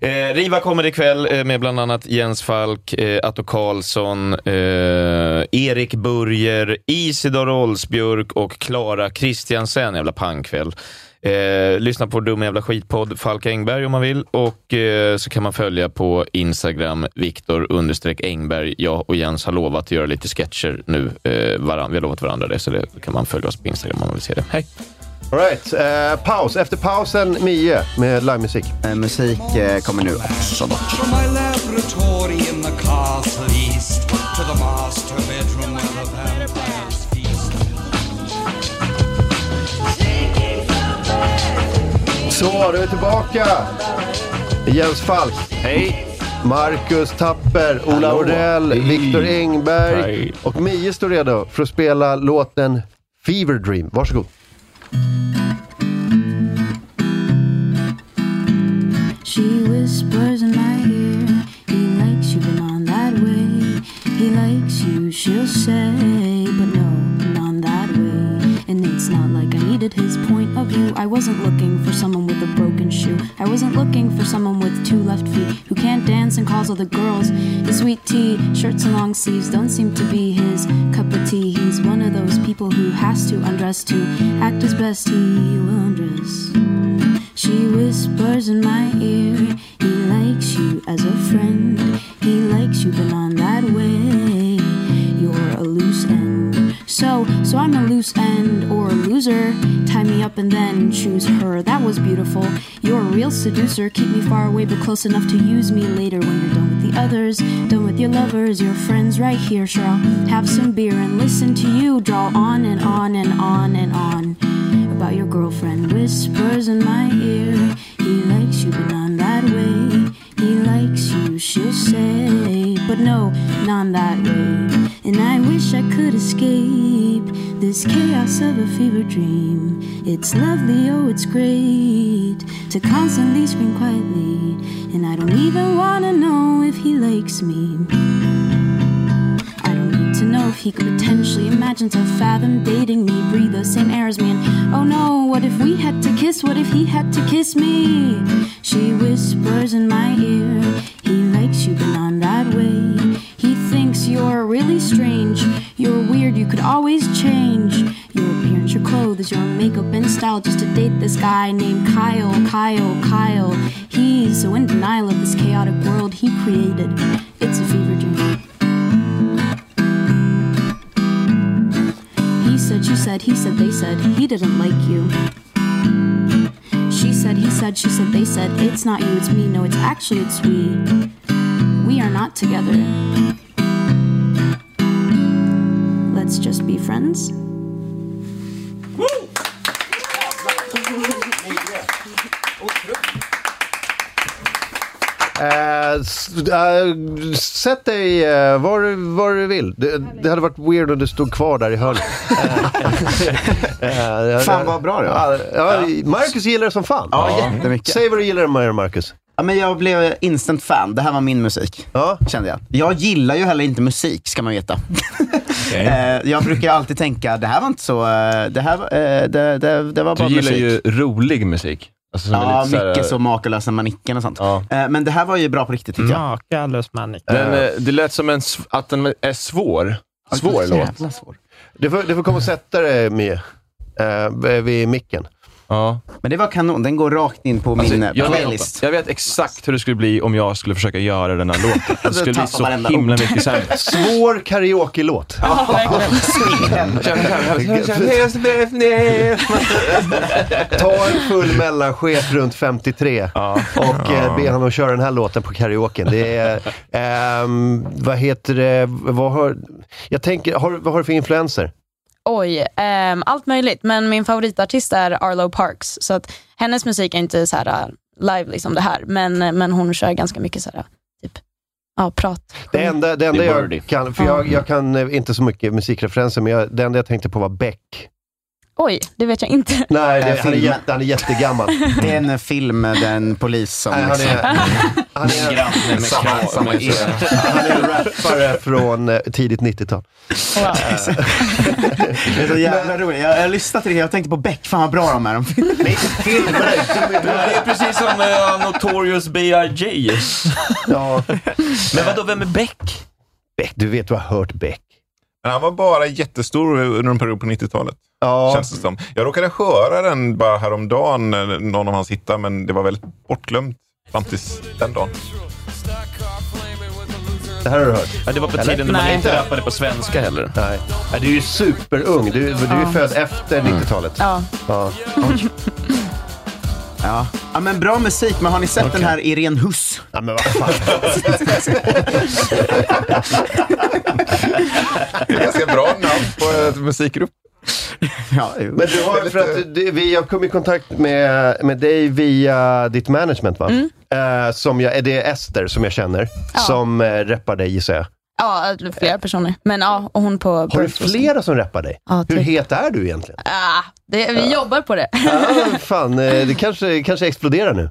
Speaker 8: Eh, Riva kommer ikväll eh, med bland annat Jens Falk, eh, Atto Karlsson, eh, Erik Burger, Isidor Olsbjörk och Klara Kristiansen. Jävla pangkväll. Eh, lyssna på Dum Jävla Skitpodd, Falk Engberg om man vill. Och eh, så kan man följa på Instagram, Viktor understreck Engberg. Jag och Jens har lovat att göra lite sketcher nu. Eh, varann, vi har lovat varandra det, så det kan man följa oss på Instagram om man vill se det. Hej!
Speaker 4: All right, eh, paus. Efter pausen Mie med livemusik.
Speaker 5: Eh, musik kommer nu också.
Speaker 16: From my laboratory in the castle east to the master bedroom where the vampires feast.
Speaker 4: Så, då är vi tillbaka. Jens Falk. Hej. Marcus Tapper, Ola
Speaker 10: Hallå.
Speaker 4: Orell,
Speaker 10: Hej.
Speaker 4: Viktor Engberg
Speaker 10: Hej.
Speaker 4: och Mie står redo för att spela låten Fever Dream. Varsågod.
Speaker 17: She whispers in my ear, he likes you, but not that way. He likes you, she'll say, but no, not that way. And it's not like I needed his point of view. I wasn't looking for someone with a broken shoe. I wasn't looking for someone with two left feet who can't dance and calls all the girls. His sweet tea, shirts and long sleeves don't seem to be his cup of tea. He's one of those people who has to undress to act his best. He will undress. She whispers in my ear, he likes you as a friend. He likes you, but not that way. You're a loose end. So, so I'm a loose end or a loser. Tie me up and then choose her. That was beautiful. You're a real seducer. Keep me far away, but close enough to use me later when you're done with the others, done with your lovers, your friends right here. Sure, I'll have some beer and listen to you draw on and on and on and on about your girlfriend whispers in my ear he likes you but not that way he likes you she'll say but no not that way and i wish i could escape this chaos of a fever dream it's lovely oh it's great to constantly scream quietly and i don't even wanna know if he likes me to know if he could potentially imagine to fathom dating me, breathe the same air as me. And oh no, what if we had to kiss? What if he had to kiss me? She whispers in my ear, he likes you, but not that way. He thinks you're really strange. You're weird, you could always change your appearance, your clothes, your makeup and style just to date this guy named Kyle, Kyle, Kyle. He's so in denial of this chaotic world he created. It's a fever dream. He said, she said, he said, they said, he didn't like you. She said, he said, she said, they said, it's not you, it's me, no, it's actually, it's we. We are not together. Let's just be friends.
Speaker 4: Eh, s- eh, sätt dig eh, var, var du vill. Det, det hade varit weird om du stod kvar där i hörnet. Eh, eh,
Speaker 5: Fan, vad bra det var.
Speaker 4: Ja, ja, Marcus gillar det som fan.
Speaker 5: Ja, jättemycket.
Speaker 4: Säg vad du gillar med Marcus.
Speaker 5: Ja, men jag blev instant fan. Det här var min musik, kände jag. Jag gillar ju heller inte musik, ska man veta. Eh, jag brukar ju alltid tänka, det här var inte så... eh, Det, här, var- eh, det, det, det var
Speaker 10: Du
Speaker 5: bara
Speaker 10: gillar
Speaker 5: musik.
Speaker 10: ju rolig musik. Alltså, som är
Speaker 5: Ja,
Speaker 10: lite här-
Speaker 5: mycket så Makalösa manicken och sånt. Eh, Men det här var ju bra på riktigt tycker jag. Makalös manicken.
Speaker 10: Den, eh, det lät som en, sv- att den är svår. Svår låt.
Speaker 4: Du får, du får komma och sätta dig med eh, vid micken.
Speaker 5: Ja. Men det var kanon. Den går rakt in på
Speaker 10: Alltså,
Speaker 5: min eh,
Speaker 10: jag,
Speaker 5: playlist.
Speaker 10: vet, jag vet exakt hur det skulle bli om jag skulle försöka göra den här låten. Det skulle bli
Speaker 5: tappar
Speaker 10: så
Speaker 5: varenda
Speaker 10: himla
Speaker 5: ord.
Speaker 10: mycket sämre.
Speaker 4: Svår karaoke-låt. Ta en full mellanchef runt 53 och eh, be honom köra den här låten på karaoken. Det är, ehm, vad heter det, vad har, jag tänker, har, vad har du för influenser?
Speaker 15: Oj, ehm, allt möjligt. Men min favoritartist är Arlo Parks. Så att hennes musik är inte så här äh, live liksom det här. Men, men hon kör ganska mycket så här, typ, ja, prat.
Speaker 4: Det enda, det enda
Speaker 15: Det är
Speaker 4: jag
Speaker 15: wordy.
Speaker 4: kan, för jag, jag kan eh, inte så mycket musikreferenser, men jag, det enda jag tänkte på var Beck.
Speaker 15: Oj, det vet jag inte.
Speaker 4: Nej, det, han, är
Speaker 5: filmen.
Speaker 4: jätte, han är jättegammal.
Speaker 5: Det är en film med en polis som... liksom-
Speaker 4: Nej, han är- han är-
Speaker 5: Samma- samma era.
Speaker 4: Han är en rappare från eh, tidigt 90-tal.
Speaker 5: Det är så jävla roligt. Jag, jag lyssnade till det jag tänkte på Beck. Fan vad bra de är. De
Speaker 8: Det är precis som eh, Notorious B.I.G.
Speaker 4: Ja.
Speaker 8: Men vadå, vem är Beck?
Speaker 4: Beck, du vet du har hört Beck.
Speaker 9: Men han var bara jättestor under en period på 90-talet. Känns det som. Jag råkade höra den bara häromdagen, eh, någon av hans hittar, men det var väldigt bortglömt fram tills den dagen.
Speaker 4: Det här har du hört?
Speaker 8: Ja, det var på
Speaker 4: Eller?
Speaker 8: tiden när man
Speaker 4: Nej.
Speaker 8: inte rappade på svenska heller.
Speaker 4: Nej. Ja, du är ju superung. Du, du är
Speaker 8: Ja.
Speaker 4: född efter
Speaker 5: Mm.
Speaker 4: 90-talet.
Speaker 15: Ja.
Speaker 4: Ja.
Speaker 5: Ja. ja, men bra musik. Men har ni sett den här Irene Huss?
Speaker 4: Ja, men vad fan.
Speaker 9: Det är ganska bra namn på eh, ett musikgrupp.
Speaker 4: Men du har, för att du, vi, jag kom i kontakt med, med dig via ditt management va?
Speaker 15: Mm.
Speaker 4: Eh, som jag, det är Ester som jag känner, som eh, reppar dig gissar jag.
Speaker 15: Ja, flera personer. Men ja, och hon på...
Speaker 4: Har du flera som reppar dig? Hur
Speaker 15: typ.
Speaker 4: het är du egentligen?
Speaker 15: Ah, det, vi jobbar på det.
Speaker 4: Ah, fan, eh, det kanske, kanske exploderar nu.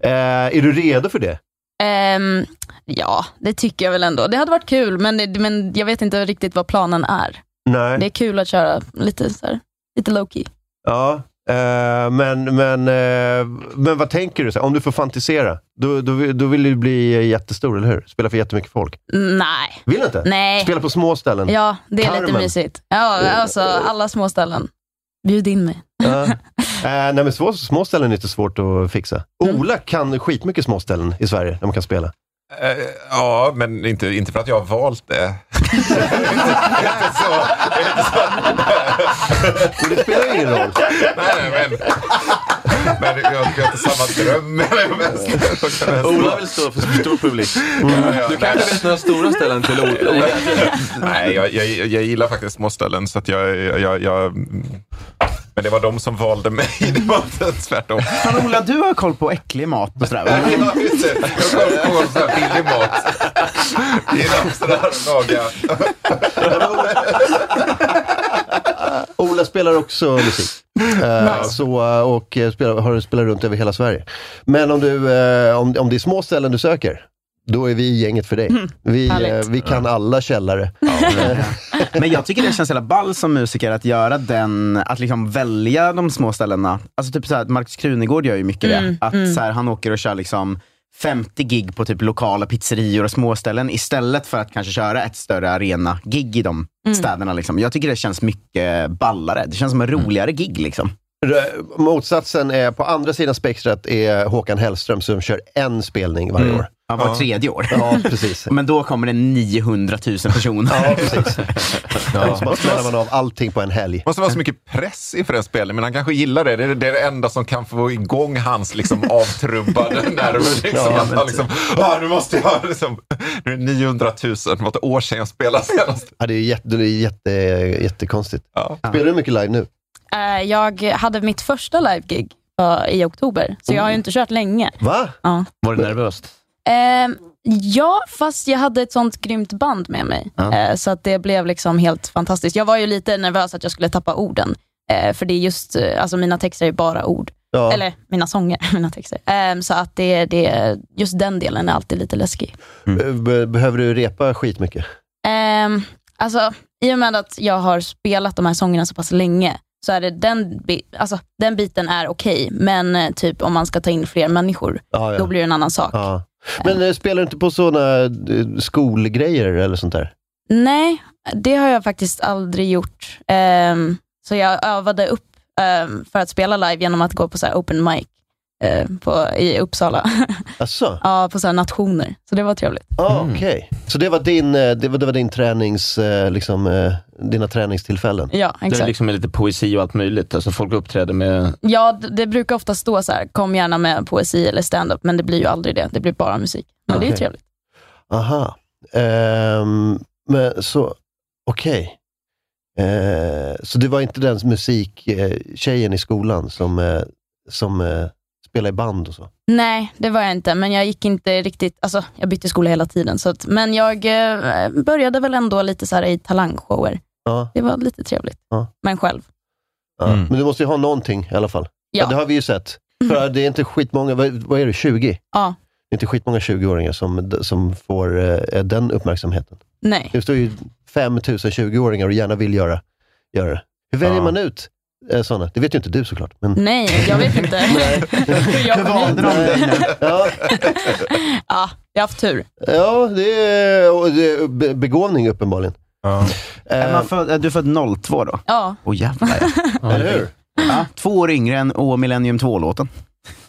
Speaker 4: Eh, är du redo för det?
Speaker 15: Ehm, ja, det tycker jag väl ändå. Det hade varit kul, men, det, men jag vet inte riktigt vad planen är.
Speaker 4: Nej.
Speaker 15: Det är kul att köra lite, så här, lite low key.
Speaker 4: Ja, eh, men, men, eh, men vad tänker du? Så här, Om du får fantisera, då, då, vill- då vill du bli jättestor, eller hur? Spela för jättemycket folk.
Speaker 15: Nej.
Speaker 4: Vill du inte?
Speaker 15: Nej.
Speaker 4: Spela på små ställen.
Speaker 15: Ja, det är lite
Speaker 4: Carmen.
Speaker 15: mysigt. Ja, alltså alla små ställen. Bjud in mig.
Speaker 4: Ja. Eh, nej, men små, små ställen är inte svårt att fixa.
Speaker 5: Mm.
Speaker 4: Ola kan skitmycket små ställen i Sverige där man kan spela.
Speaker 9: Eh, ja, men inte, inte för att jag har valt det. det är inte så. Det är inte så.
Speaker 4: det spelar ingen roll.
Speaker 9: Nej, nej, men, men jag, jag har inte samma dröm.
Speaker 10: Ola vill stå för stor publik. Du kanske vet några stora ställen till Ola.
Speaker 9: Nej, jag, jag, jag gillar faktiskt små ställen, så att jag, jag, jag... Men det var de som valde mig, det var inte tvärtom.
Speaker 5: Fan Ola, du har koll på äcklig mat och sådär. va?
Speaker 9: Ja, just det. Jag kommer ihåg sån här billig mat. Det är Amsterdam laga.
Speaker 4: Eh, Ola spelar också musik. Eh, så, eh, och eh, spelar, har spelar runt över hela Sverige. Men om, du, eh, om, om det är små ställen du söker, då är vi gänget för dig.
Speaker 5: Mm.
Speaker 4: Vi, eh, vi kan alla källare.
Speaker 5: Men jag tycker det känns hela ball som musiker att göra den, att liksom välja de små ställena. Alltså typ såhär, Markus Krunegård gör ju mycket
Speaker 15: Mm,
Speaker 5: det. Att
Speaker 15: mm.
Speaker 5: så här, han åker och kör liksom 50 gig på typ lokala pizzerior och småställen istället för att kanske köra ett större arena-gig i de
Speaker 15: Mm.
Speaker 5: städerna. Liksom. Jag tycker det känns mycket ballare. Det känns som
Speaker 4: Mm.
Speaker 5: en roligare gig. Liksom.
Speaker 4: R- Eh, Motsatsen är, på andra sidan spektrat är Håkan Hellström som kör en spelning varje
Speaker 5: Mm.
Speaker 4: år.
Speaker 5: Ja, var tredje år.
Speaker 4: Ja, precis.
Speaker 5: Men då kommer det 900 000 personer.
Speaker 4: Ja, precis. Så bara smäller man av allting på en helg.
Speaker 9: måste vara så mycket press inför en spelning, men han kanske gillar det. Det är det, är det enda som kan få igång hans liksom, avtrubbade nerver. Liksom,
Speaker 10: Ja,
Speaker 9: att
Speaker 10: men
Speaker 9: han
Speaker 10: typ.
Speaker 9: liksom, ah, nu måste jag... Liksom, nu är det 900 000, det var ett år sedan jag spelade senast.
Speaker 4: Ja, det är, jätte, det är jätte, jättekonstigt. Spelar du mycket live nu?
Speaker 15: Eh, jag hade mitt första live-gig eh, i oktober, så jag har ju inte kört länge.
Speaker 4: Mm. Va?
Speaker 15: Ja.
Speaker 8: Var det nervöst?
Speaker 15: Ehm, ja, fast jag hade ett sånt grymt band med mig.
Speaker 8: Ja.
Speaker 15: Eh, så att det blev liksom helt fantastiskt. Jag var ju lite nervös att jag skulle tappa orden. Eh, för det är just, eh, alltså mina texter är bara ord.
Speaker 4: Ja.
Speaker 15: Eller mina sånger, mina texter. Ehm, så att det, det, just den delen är alltid lite läskig.
Speaker 8: Mm.
Speaker 4: Eh, Be- Behöver du repa skitmycket?
Speaker 15: Ehm, alltså, I och med att jag har spelat de här sångerna så pass länge, så är det den, bi- alltså, den biten är okej, men eh, typ om man ska ta in fler människor,
Speaker 4: Ja, ja.
Speaker 15: då blir det en annan sak.
Speaker 4: Ja. Men eh, spelar du inte på sådana eh, skolgrejer eller sånt där?
Speaker 15: Nej, det har jag faktiskt aldrig gjort. Ehm, så jag övade upp ehm, för att spela live genom att gå på så här open mic eh, på, i Uppsala.
Speaker 4: Asså?
Speaker 15: ja, på så här nationer. Så det var trevligt.
Speaker 4: Ah,
Speaker 8: Mm.
Speaker 4: Okej, så det var, din, eh, det var, det var din tränings, eh, liksom, eh, dina träningstillfällen?
Speaker 15: Ja,
Speaker 8: Det är
Speaker 15: exakt.
Speaker 8: liksom med lite poesi och allt möjligt. Alltså folk uppträder med...
Speaker 15: Ja, d- det brukar ofta stå så här, kom gärna med poesi eller stand-up, men det blir ju aldrig det. Det blir bara musik. Men det är ju
Speaker 4: Okej.
Speaker 15: trevligt.
Speaker 4: Aha. Ehm, men så, okej. Eh, så det var inte den musiktjejen i skolan som, eh, som eh, spelade i band och så?
Speaker 15: Nej, det var jag inte, men jag gick inte riktigt, alltså jag bytte skola hela tiden. Så att, men jag eh, började väl ändå lite så här i talangshower.
Speaker 4: Ja.
Speaker 15: Det var lite trevligt,
Speaker 4: Ja.
Speaker 15: men själv.
Speaker 4: Ja. Men du måste ju ha någonting i alla fall.
Speaker 15: Ja.
Speaker 4: det har vi ju sett. För det är inte skitmånga, vad, vad är det, 20?
Speaker 15: Ja,
Speaker 4: Det är inte skitmånga 20-åringar som, som får eh, den uppmärksamheten.
Speaker 15: nej.
Speaker 4: Det står ju 5000 20-åringar och gärna vill göra, göra det. Hur väljer
Speaker 15: Ja.
Speaker 4: man ut eh, sådana? Det vet ju inte du såklart. Men...
Speaker 15: Nej, jag vet inte. Hur jag kom hit.
Speaker 4: ja.
Speaker 15: ja, jag har haft tur.
Speaker 4: ja, det är, och det är be- begåvning uppenbarligen.
Speaker 5: Är man född, är du född 02 då?
Speaker 15: Ja.
Speaker 5: Åh jävlar ja.
Speaker 4: Eller hur?
Speaker 5: Ja, två år yngre än Å Millennium 2-låten.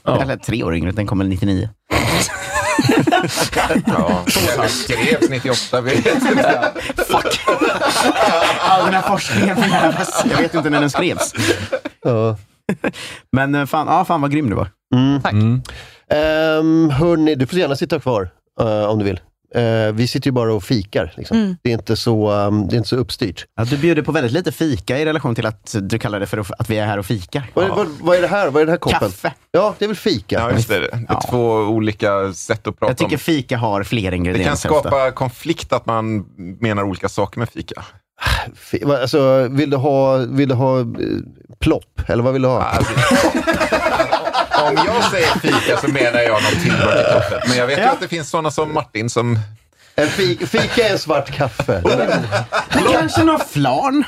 Speaker 5: Eller tre år yngre, den kom väl 99.
Speaker 9: Ja, den skrevs 98. vi vet inte.
Speaker 5: All den här forskningen förgäves. Jag vet inte när den skrevs. Men eh, fan, ja, fan vad grym du var. Mm.
Speaker 4: Tack. Mm. Ehm, hörni, du får gärna sitta kvar eh, om du vill. Eh, vi sitter ju bara och fikar. Liksom.
Speaker 5: Mm.
Speaker 4: Det, är inte så, ehm, det är inte så uppstyrt.
Speaker 5: Ja, du bjuder på väldigt lite fika i relation till att du kallar det för att att vi är här och fikar.
Speaker 4: Vad, är, vad, vad är det här? Vad är den här koppen?
Speaker 5: Kaffe.
Speaker 4: Ja, det är väl fika.
Speaker 9: Ja, just det. Det är två olika sätt att prata
Speaker 5: Jag tycker
Speaker 9: om.
Speaker 5: fika har fler
Speaker 9: Det
Speaker 5: ingredienser
Speaker 9: kan
Speaker 5: ofta.
Speaker 9: skapa konflikt att man menar olika saker med fika.
Speaker 4: Fi- vad- Alltså, vill du ha, vill du ha eh, plopp, eller vad vill du ha?
Speaker 5: Ah,
Speaker 9: Om jag säger fika så menar jag något tillbehör till kaffet. Men jag vet ju att det finns sådana som Martin som...
Speaker 4: En fika, fika är en svart kaffe.
Speaker 5: Kanske någon flan.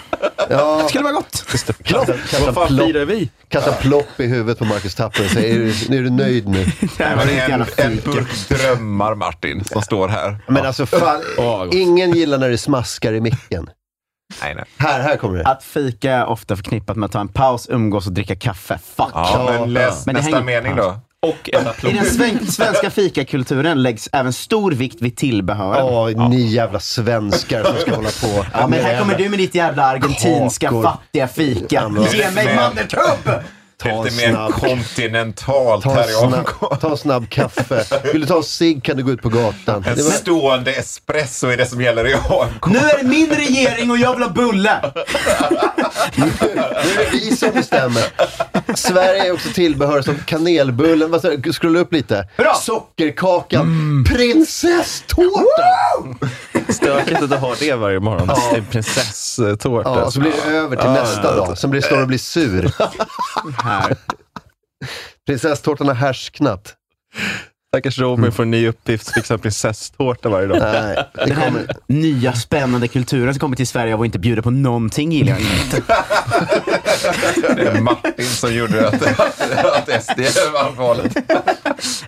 Speaker 4: Ja.
Speaker 5: Skulle vara gott.
Speaker 4: Plopp. Kasta
Speaker 5: Vad fan
Speaker 4: plopp-
Speaker 5: firar vi?
Speaker 4: Kasta plopp i huvudet på Marcus Tapper och säger, är du, är du nöjd nu?
Speaker 9: Men en, en burk drömmar Martin som står här.
Speaker 4: Men alltså fan, ingen gillar när det smaskar i micken.
Speaker 9: Nej, nej.
Speaker 4: Här, här kommer det.
Speaker 5: Att fika är ofta förknippat med att ta en paus, umgås och dricka kaffe. Fuck.
Speaker 9: Ja, men läs
Speaker 5: det
Speaker 9: nästa
Speaker 5: hänger-
Speaker 9: mening då.
Speaker 8: Och en
Speaker 5: I den sven- svenska fikakulturen läggs även stor vikt vid tillbehören.
Speaker 4: Ja, ni jävla svenskar som ska hålla på.
Speaker 5: Ja, men här kommer du med ditt jävla argentinska
Speaker 4: Kakor.
Speaker 5: fattiga fika.
Speaker 4: men-
Speaker 5: Ge mig mandeltubb!
Speaker 4: Ta en
Speaker 9: Lite mer
Speaker 4: snabb-
Speaker 9: kontinentalt
Speaker 4: Ta en,
Speaker 9: här i omgången.
Speaker 4: snabb, ta en snabb kaffe. Vill du ta en cigg kan du gå ut på gatan.
Speaker 9: En
Speaker 4: Det var-
Speaker 9: stående espresso är det som gäller i AMK.
Speaker 5: Nu är det min regering och jag vill ha bulle!
Speaker 4: Nu är det vi som bestämmer. Sverige är också tillbehör som kanelbullen, vad säger du? scrolla upp lite. Sockerkakan,
Speaker 9: Mm.
Speaker 4: prinsesstårta!
Speaker 10: Stökigt att ha det varje morgon.
Speaker 4: Ja.
Speaker 10: En prinsesstårta.
Speaker 4: Ja, och så blir det över till
Speaker 10: Ja.
Speaker 4: nästa dag. Sen blir det står och blir sur. Prinsesstårtan har härsknat.
Speaker 10: Stackars Robin får en ny uppgift, fixa en prinsesstårta varje dag.
Speaker 4: Nej,
Speaker 5: Den här nya spännande kulturen som kommer till Sverige av att inte bjuda på någonting gillar jag inte.
Speaker 9: Det är Martin som gjorde att, att SD vann valet.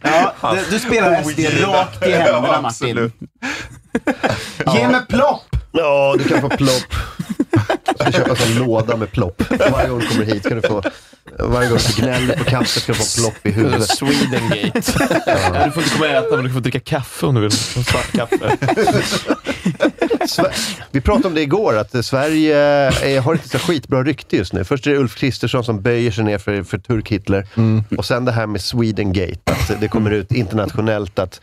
Speaker 5: Ja, du, du spelar SD rakt i händerna Martin. Ge mig plopp!
Speaker 4: Ja, du kan få plopp. Jag ska köpa en sån låda med plopp. Varje gång du kommer hit ska du få... Varje gång du gnäller på kaffet ska du få plopp i huvudet.
Speaker 8: Swedengate. Ja, Du får inte komma och äta, men du får dricka kaffe om du vill. Svart kaffe.
Speaker 4: Sve- Vi pratade om det igår, att eh, Sverige eh, har inte så skitbra rykte just nu. Först är det Ulf Kristersson som böjer sig ner för, för Turk-Hitler.
Speaker 8: Mm.
Speaker 4: Och sen det här med Swedengate, att eh, det kommer ut internationellt att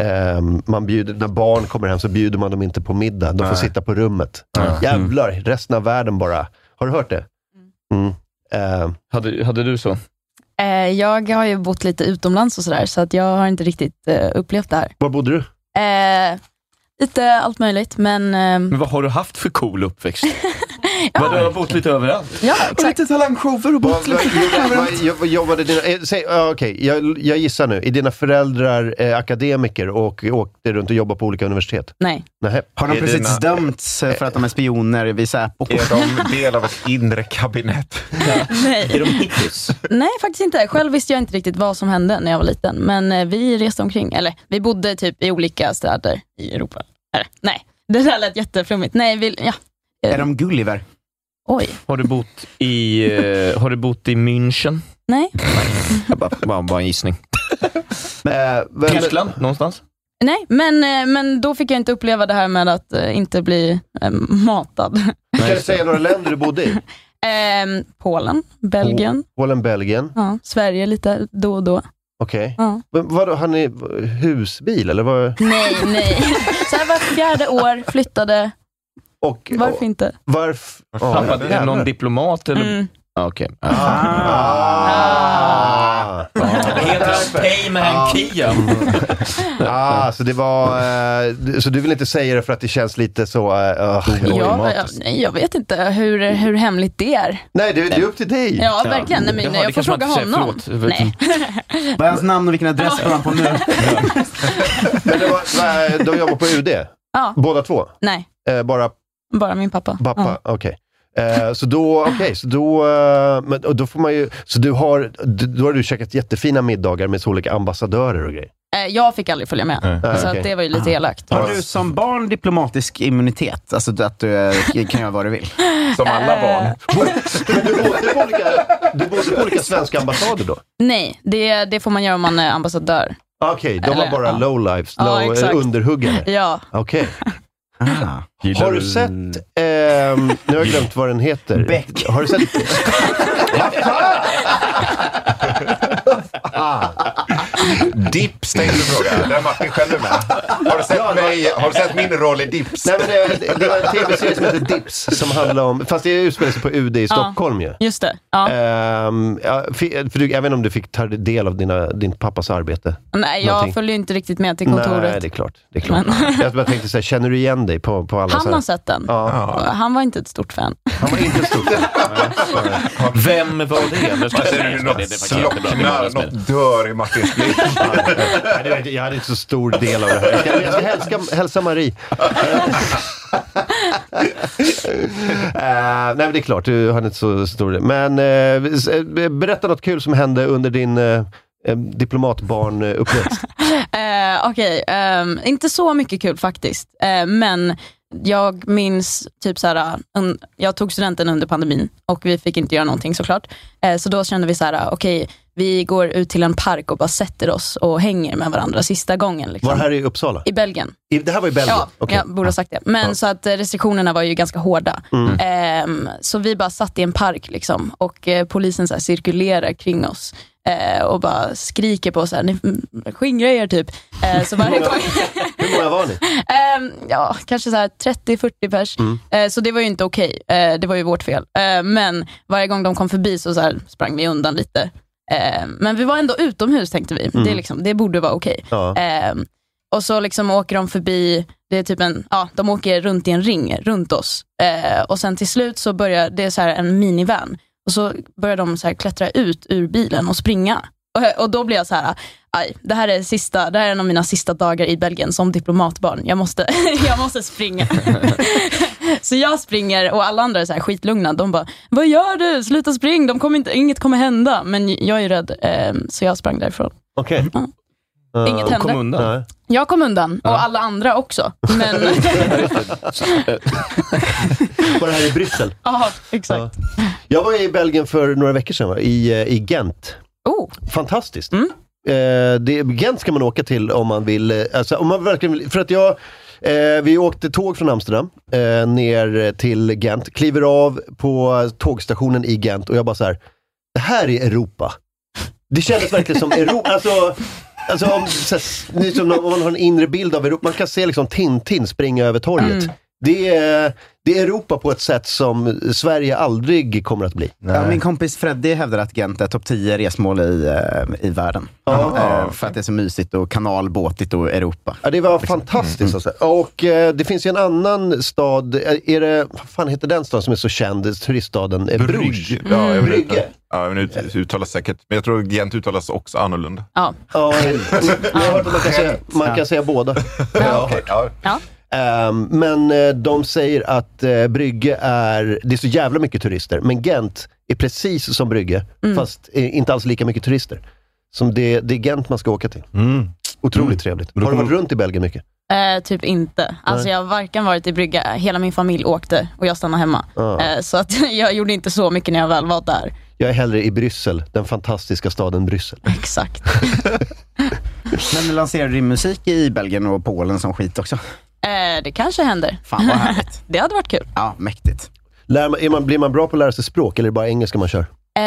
Speaker 4: ehm, man bjuder, när barn kommer hem så bjuder man dem inte på middag. De får
Speaker 10: Nej.
Speaker 4: sitta på rummet.
Speaker 10: Ja.
Speaker 8: Mm.
Speaker 4: Jävlar, resten av världen bara. Har du hört det? Mm. Ehm,
Speaker 8: Hade, hade du så?
Speaker 15: Eh, jag har ju bott lite utomlands och sådär, så att jag har inte riktigt eh, upplevt det här.
Speaker 4: var bodde du?
Speaker 15: Eh, lite allt möjligt, men ehm,
Speaker 8: Men vad har du haft för cool uppväxt? Vad, Du har bott lite överallt.
Speaker 15: ja, exakt.
Speaker 5: Lite talangshower och
Speaker 4: Vad- vad- vad- jobb- Jobbade dina, eh, säg, ja, okej, jag, jag gissar nu. Är dina föräldrar eh, akademiker och åkte runt och jobbade på olika universitet?
Speaker 15: Nej.
Speaker 4: Nej.
Speaker 5: Har de
Speaker 9: Är
Speaker 5: precis
Speaker 9: dina-
Speaker 5: dömts för att de är spioner vid Säpo?
Speaker 9: Är de del av ett inre kabinett?
Speaker 15: Nej.
Speaker 10: hittills?
Speaker 15: Nej, faktiskt inte. Själv visste jag inte riktigt vad som hände när jag var liten, men eh, vi reste omkring, eller vi bodde typ i olika städer i Europa. Eller, nej, det där lät jätteflummigt. Nej, vi, ja.
Speaker 5: Är de Gulliver?
Speaker 15: Oj.
Speaker 8: Har du bott i, eh, har du bott i München?
Speaker 15: Nej.
Speaker 8: Jag bara, bara, bara en gissning. eh, Tyskland, någonstans?
Speaker 15: Nej, men, eh, men då fick jag inte uppleva det här med att eh, inte bli eh, matad.
Speaker 4: Kan du säga några länder du bodde i?
Speaker 15: Ehm, Polen, Belgien,
Speaker 4: Polen, Belgien.
Speaker 15: ja, Sverige lite då och då.
Speaker 4: Okej.
Speaker 15: Ja.
Speaker 4: Men Vadå, han är husbil eller? Vad?
Speaker 15: Nej, nej. Så här var fjärde år, flyttade.
Speaker 4: Och,
Speaker 15: Varför inte?
Speaker 4: Varför? Ja,
Speaker 8: Pappa, är det
Speaker 4: jävlar.
Speaker 8: någon diplomat eller?
Speaker 15: Mm.
Speaker 8: Ah, Okej. Ah. Heter han Payman Kia?
Speaker 4: Ah, så, det var, eh, du- så du vill inte säga det för att det känns lite så... eh, ah,
Speaker 15: Jag, jag, nej, jag vet inte hur, hur hemligt det är.
Speaker 4: Nej, det, det är upp till dig.
Speaker 15: Ja, verkligen. Nej, men
Speaker 5: Jaha,
Speaker 15: jag
Speaker 5: det
Speaker 15: får
Speaker 5: kanske man
Speaker 15: fråga
Speaker 5: inte säger.
Speaker 15: honom.
Speaker 5: Förlåt.
Speaker 15: Nej.
Speaker 5: Vad är hans namn och vilken adress bor han på nu?
Speaker 4: Men det var, nej, de jobbar på UD?
Speaker 15: Ja.
Speaker 4: Båda två?
Speaker 15: nej,
Speaker 4: Eh, bara
Speaker 15: bara min pappa.
Speaker 4: pappa? Okej. Eh, så då, okej, så då, eh, men, och då får man ju, så du har, d- då har du käkat jättefina middagar med så olika ambassadörer och grejer.
Speaker 15: Eh, Jag fick aldrig följa med,
Speaker 5: Nej.
Speaker 15: så
Speaker 5: Nej,
Speaker 15: att
Speaker 5: okej. Ah.
Speaker 15: det var ju lite elakt.
Speaker 5: Har du som barn diplomatisk immunitet? Alltså du- att du eh, kan göra vad du vill?
Speaker 15: Som alla barn.
Speaker 4: Du bodde på olika svenska ambassader då?
Speaker 15: Nej, det, det får man göra om man är ambassadör.
Speaker 4: Okej, de var
Speaker 15: Eller,
Speaker 4: bara low-lives,
Speaker 15: Ja,
Speaker 4: low,
Speaker 15: exakt.
Speaker 4: eh, underhuggare.
Speaker 15: Ja,
Speaker 4: Okej. Ah. Har du sett, ehm, nu har jag glömt vad den heter. Beck. Har du sett? Ah.
Speaker 9: Dipp stängde fråga. Där Martin själv är med. Har du sett, mig, har du sett min roll i Dips?
Speaker 4: Nej, men det, det var en tv-serie som heter Dips som handlar om, fast det utspelar sig på UD i
Speaker 15: Ja.
Speaker 4: Stockholm ju.
Speaker 15: just det. Ja.
Speaker 4: Ehm, ja, fi- för du, jag vet inte om du fick ta del av dina, din pappas arbete?
Speaker 15: Nej, jag
Speaker 4: Någonting.
Speaker 15: följer ju inte riktigt med till kontoret.
Speaker 4: Nej, det är klart. Det är klart. Jag bara tänkte så här, känner du igen dig på, på alla
Speaker 15: Han
Speaker 4: så här?
Speaker 15: har sett den.
Speaker 4: Ja.
Speaker 15: Han var inte ett stort fan.
Speaker 8: Vem var det? Nu ska jag säga det. Det är faktiskt jättebra. Det är bara
Speaker 9: Slocknar,
Speaker 8: ett spel.
Speaker 9: något dör i Martins blick.
Speaker 4: Nej, det vet jag, jag hade inte så stor del av det här. Jag ska, jag ska hälsa, hälsa Marie. Eh, nej, men det är klart, du hade inte så stor del. Men eh, s- eh, berätta något kul som hände under din eh, eh, diplomatbarnuppväxt.
Speaker 15: Eh, Okej, ehm, inte så mycket kul faktiskt. Eh, men jag minns, typ så här, en, jag tog studenten under pandemin och vi fick inte göra någonting såklart. Eh, så då kände vi så här, okej, vi går ut till en park och bara sätter oss och hänger med varandra sista gången. Liksom.
Speaker 4: Var det här i Uppsala?
Speaker 15: I Belgien.
Speaker 4: I, det här var i Belgien?
Speaker 15: Ja,
Speaker 4: Okej.
Speaker 15: jag borde ha sagt det. Men så att eh, restriktionerna var ju ganska hårda.
Speaker 4: Mm.
Speaker 15: Ehm, så vi bara satt i en park liksom, och eh, polisen så här, cirkulerar kring oss eh, och bara skriker på oss, så här, ni mm, skingra er typ. Eh, så varje gång,
Speaker 4: Hur många var ni?
Speaker 15: Ehm, ja, kanske så här 30-40 pers.
Speaker 4: Mm.
Speaker 15: Eh, så det var ju inte okej. Eh, det var ju vårt fel. Eh, men varje gång de kom förbi så, så här, sprang vi undan lite. Eh, men vi var ändå utomhus tänkte vi.
Speaker 11: Mm.
Speaker 15: Det, är liksom, det borde vara okej.
Speaker 11: Ja.
Speaker 15: Ehm, och så liksom åker de förbi, det är typ en, ja, de åker runt i en ring runt oss. Eh, och sen till slut så börjar, det är så här en minivan. Och så börjar de så här klättra ut ur bilen och springa. Och, och då blir jag så här, aj, det här, är sista, det här är en av mina sista dagar i Belgien som diplomatbarn. Jag måste, jag måste springa. så jag springer och alla andra är så här skitlugna. De bara, vad gör du? Sluta spring, de kommer inte, inget kommer hända. Men jag är ju rädd, eh, så jag sprang därifrån.
Speaker 4: Okej.
Speaker 15: Inget hände.
Speaker 8: Kom undan.
Speaker 15: Jag kom undan och alla andra också. Men,
Speaker 4: Var det här i Bryssel?
Speaker 15: ja, exakt.
Speaker 4: Jag var i Belgien för några veckor sedan, va? I, eh, i Gent. Fantastiskt. Eh, det, Gent ska man åka till om man vill. eh, Alltså, om man verkligen vill för att jag, eh, vi åkte tåg från Amsterdam eh, ner till Gent, kliver av på tågstationen i Gent och jag bara så här, det här är Europa. Det kändes verkligen som Europa. Alltså, alltså om, så här, ni som, om man har en inre bild av Europa, man kan se liksom Tintin springa över torget.
Speaker 5: Mm.
Speaker 4: Det, är, det är Europa på ett sätt som Sverige aldrig kommer att bli.
Speaker 5: Ja, min kompis Freddy hävdar att Gent är topp 10 resmål i, eh, i världen. Eh, För att det är så mysigt och kanalbåtigt och Europa. Liksom. Mm.
Speaker 4: Ja, det var fantastiskt. Alltså. Och eh, det finns ju en annan stad, eh, är det, vad fan heter den staden som är så känd, turiststaden? Eh, Bruges.
Speaker 9: Ja, jag vet
Speaker 4: Brygge.
Speaker 9: inte. Ja, men ut, uttalas säkert. Men jag tror Gent uttalas också annorlunda.
Speaker 15: Ja.
Speaker 4: Ja, jag har hört att man kan säga, man kan säga båda. Ja, okej. Ehm, men eh, de säger att eh, Brygge är, det är så jävla mycket turister, men Gent är precis som Brygge,
Speaker 15: Mm.
Speaker 4: fast eh, inte alls lika mycket
Speaker 5: Mm.
Speaker 4: turister. Som det, det är Gent man ska åka till. Otroligt trevligt. Har du varit runt i Belgien mycket?
Speaker 15: Eh, typ inte. Alltså
Speaker 10: Nej.
Speaker 15: jag har varken varit i brygga, hela min familj åkte och jag stannade hemma.
Speaker 4: Ja.
Speaker 15: Eh, så att jag gjorde inte så mycket när jag väl var där.
Speaker 4: Jag är hellre i Bryssel, den fantastiska staden Bryssel.
Speaker 15: Exakt.
Speaker 5: Men du lanserade din musik i Belgien och Polen som skit också.
Speaker 15: Eh, det kanske händer.
Speaker 5: Fan vad härligt.
Speaker 15: det hade varit kul.
Speaker 5: Ja, mäktigt.
Speaker 4: Lär man, är man, blir man bra på att lära sig språk eller är det bara engelska man kör?
Speaker 15: Eh,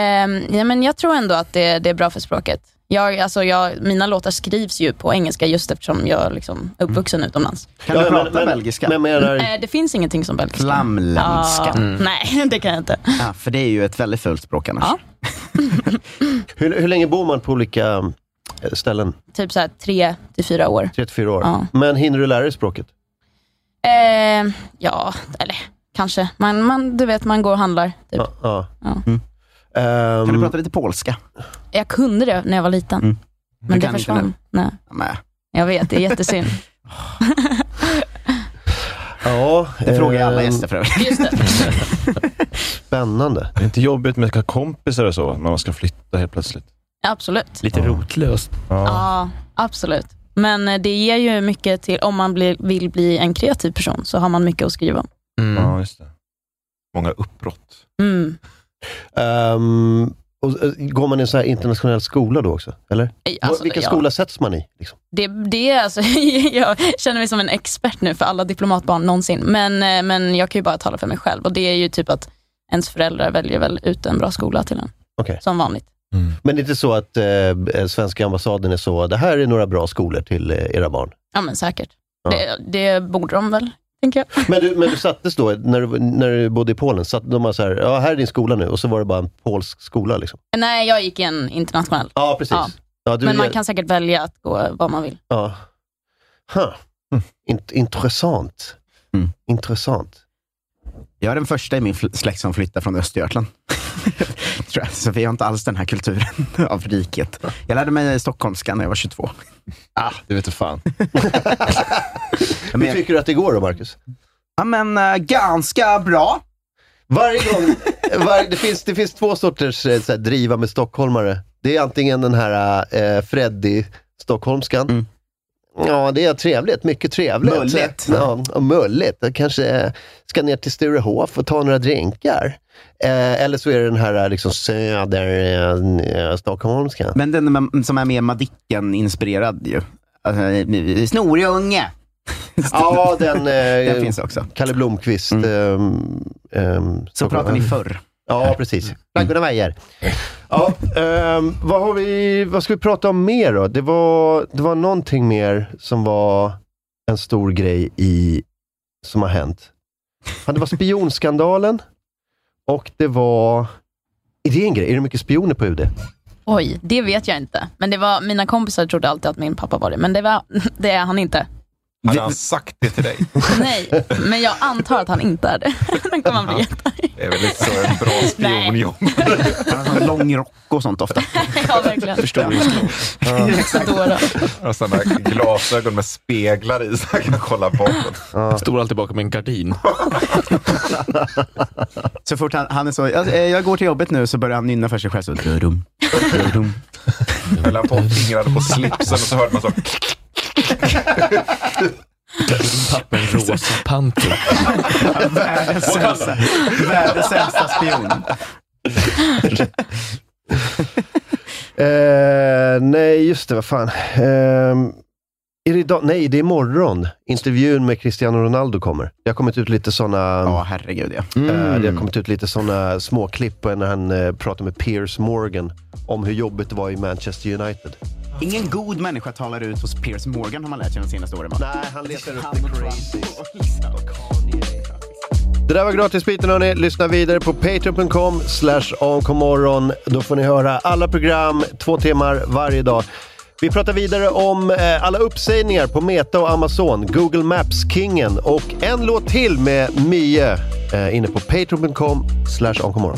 Speaker 15: ja, men jag tror ändå att det, det är bra för språket. Jag, alltså jag, mina låtar skrivs ju på engelska just eftersom jag liksom är uppvuxen
Speaker 5: Mm.
Speaker 15: utomlands.
Speaker 5: Kan du prata belgiska?
Speaker 15: Eh, det finns ingenting som belgiska.
Speaker 5: Flamländska. Mm.
Speaker 15: Ah, Nej, det kan jag inte.
Speaker 5: Ja, för det är ju ett väldigt fult språk annars.
Speaker 15: typ.
Speaker 4: Hur, hur länge bor man på olika eh, ställen?
Speaker 15: Typ så här tre till fyra år.
Speaker 4: Tre till fyra år.
Speaker 15: Ja.
Speaker 4: Men hinner du lära dig språket?
Speaker 15: Eh, ja, eller kanske. Man, man, du vet, man går och handlar. Typ.
Speaker 4: Ja. ja.
Speaker 15: Ja.
Speaker 5: Mm. kan du prata lite polska?
Speaker 15: Jag kunde det när jag var liten,
Speaker 5: Mm. Du
Speaker 15: men det
Speaker 5: kan inte nu.
Speaker 15: försvann. Nej.
Speaker 5: Nej.
Speaker 15: Jag vet, det är jättesynd.
Speaker 4: Ja,
Speaker 5: Det frågar jag alla
Speaker 10: ehm,
Speaker 5: gäster för övrigt.
Speaker 4: Spännande.
Speaker 10: Det är inte jobbigt med kompisar och så, när man ska flytta helt plötsligt.
Speaker 15: absolut.
Speaker 10: Lite rotlöst.
Speaker 15: Ja. absolut. Men eh, det ger ju mycket till, om man blir, vill bli en kreativ person, så har man mycket att skriva om.
Speaker 10: Ja, just det.
Speaker 9: Många uppbrott.
Speaker 15: Mm.
Speaker 4: Ehm, och, eh, går man i en sån här internationell skola då också? Eller?
Speaker 15: Ej, alltså,
Speaker 4: Vilken
Speaker 15: ja.
Speaker 4: skola sätts man i? Liksom?
Speaker 15: Det, det är alltså, jag känner mig som en expert nu för alla diplomatbarn någonsin, men, eh, men jag kan ju bara tala för mig själv. Och Det är ju typ att ens föräldrar väljer väl ut en bra skola till en,
Speaker 4: Okej.
Speaker 15: som vanligt.
Speaker 10: Mm.
Speaker 4: Men det är inte så att eh, svenska ambassaden är så, det här är några bra skolor till eh, era barn.
Speaker 15: Ja, men säkert.
Speaker 4: Ja.
Speaker 15: Det, det borde de väl, tänker jag.
Speaker 4: Men du, men du sattes då, när du, när du bodde i Polen, satt de bara så här, ja här är din skola nu, och så var det bara en polsk skola liksom.
Speaker 15: Nej, jag gick en internationell.
Speaker 4: Ja, precis.
Speaker 15: Ja.
Speaker 4: Ja, du
Speaker 15: men man
Speaker 4: är-
Speaker 15: kan säkert välja att gå vad man vill.
Speaker 4: Ja. Huh. Int- intressant. Intressant.
Speaker 5: Mm. Jag är den första i min fl- släkt som flyttar från Östergötland. Tror jag. Så vi har inte alls den här kulturen av riket. Jag lärde mig stockholmska när jag var 22.
Speaker 10: Ah, det vet du fan.
Speaker 4: Hur tycker du att det går då, Marcus?
Speaker 5: Ja, men eh, ganska bra.
Speaker 4: Varje gång, var, det, finns, det finns två sorters eh, så här, driva med stockholmare. Det är antingen den här eh, Freddy-stockholmskan. Ja, det är trevligt. Mycket trevligt.
Speaker 5: Mulligt.
Speaker 4: Ja, och mulligt. Jag kanske eh, ska ner till Sturehof och ta några drinkar. Eh, eller så är det den här eh, liksom, söder-stockholmskan.
Speaker 5: Men den är- som är mer Madicken-inspirerad ju. Alltså, eh, Snorig unge.
Speaker 4: Ja, den, eh,
Speaker 5: den finns också. Mm.
Speaker 4: Kalle Blomqvist. ehm, ehm,
Speaker 5: Så pratar ni förr. Mm.
Speaker 4: Ja, precis. Blaggorna väjer. Ja, ehm, vad, har vi, vad ska vi prata om mer då? Det var, det var någonting mer som var en stor grej i, som har hänt. Ja, det var spionskandalen och det var... Är det en grej? Är det mycket spioner på UD?
Speaker 15: Oj, det vet jag inte. Men det var, mina kompisar trodde alltid att min pappa var det, men det, var, det är han inte.
Speaker 9: Hade han sagt det till dig?
Speaker 15: Nej, men jag antar att han inte är det. Då kan man bli jätte-
Speaker 9: Det är väl lite så en bra spion jobbar.
Speaker 5: Han har sån lång rock och sånt ofta.
Speaker 15: Ja, verkligen.
Speaker 9: Förstoringsglas.
Speaker 15: Dora.
Speaker 9: Och sådana här glasögon med speglar i så han kan kolla bakåt.
Speaker 8: Jag Står alltid bakom en gardin.
Speaker 5: Så fort han, han är så, jag, eh, jag går till jobbet nu, så börjar han nynna för sig själv. Så, dum, dum.
Speaker 9: Höll han på och fingrade på slipsen och så hörde man så.
Speaker 8: Pappa en rosa panter.
Speaker 5: Världens sämsta, världens sämsta spion.
Speaker 4: Eh, nej, just det. Vad fan. Ehm, är det idag? Nej, det är imorgon. Intervjun med Cristiano Ronaldo kommer. Det har kommit ut lite såna...
Speaker 5: Ja, herregud ja.
Speaker 4: Eh, det har kommit ut lite såna småklipp när han eh, pratar med Piers Morgan om hur jobbigt det var i Manchester United.
Speaker 5: Ingen god människa talar ut hos Piers Morgan har man lärt sig de senaste åren. va?
Speaker 4: Nej, han letar upp the crazies. Det där var gratisbiten hörni. Lyssna vidare på patreon.com slash onkomorron. Då får ni höra alla program, två timmar varje dag. Vi pratar vidare om eh, alla uppsägningar på Meta och Amazon, Google Maps-kingen och en låt till med Mie eh, inne på patreon.com slash onkomorron.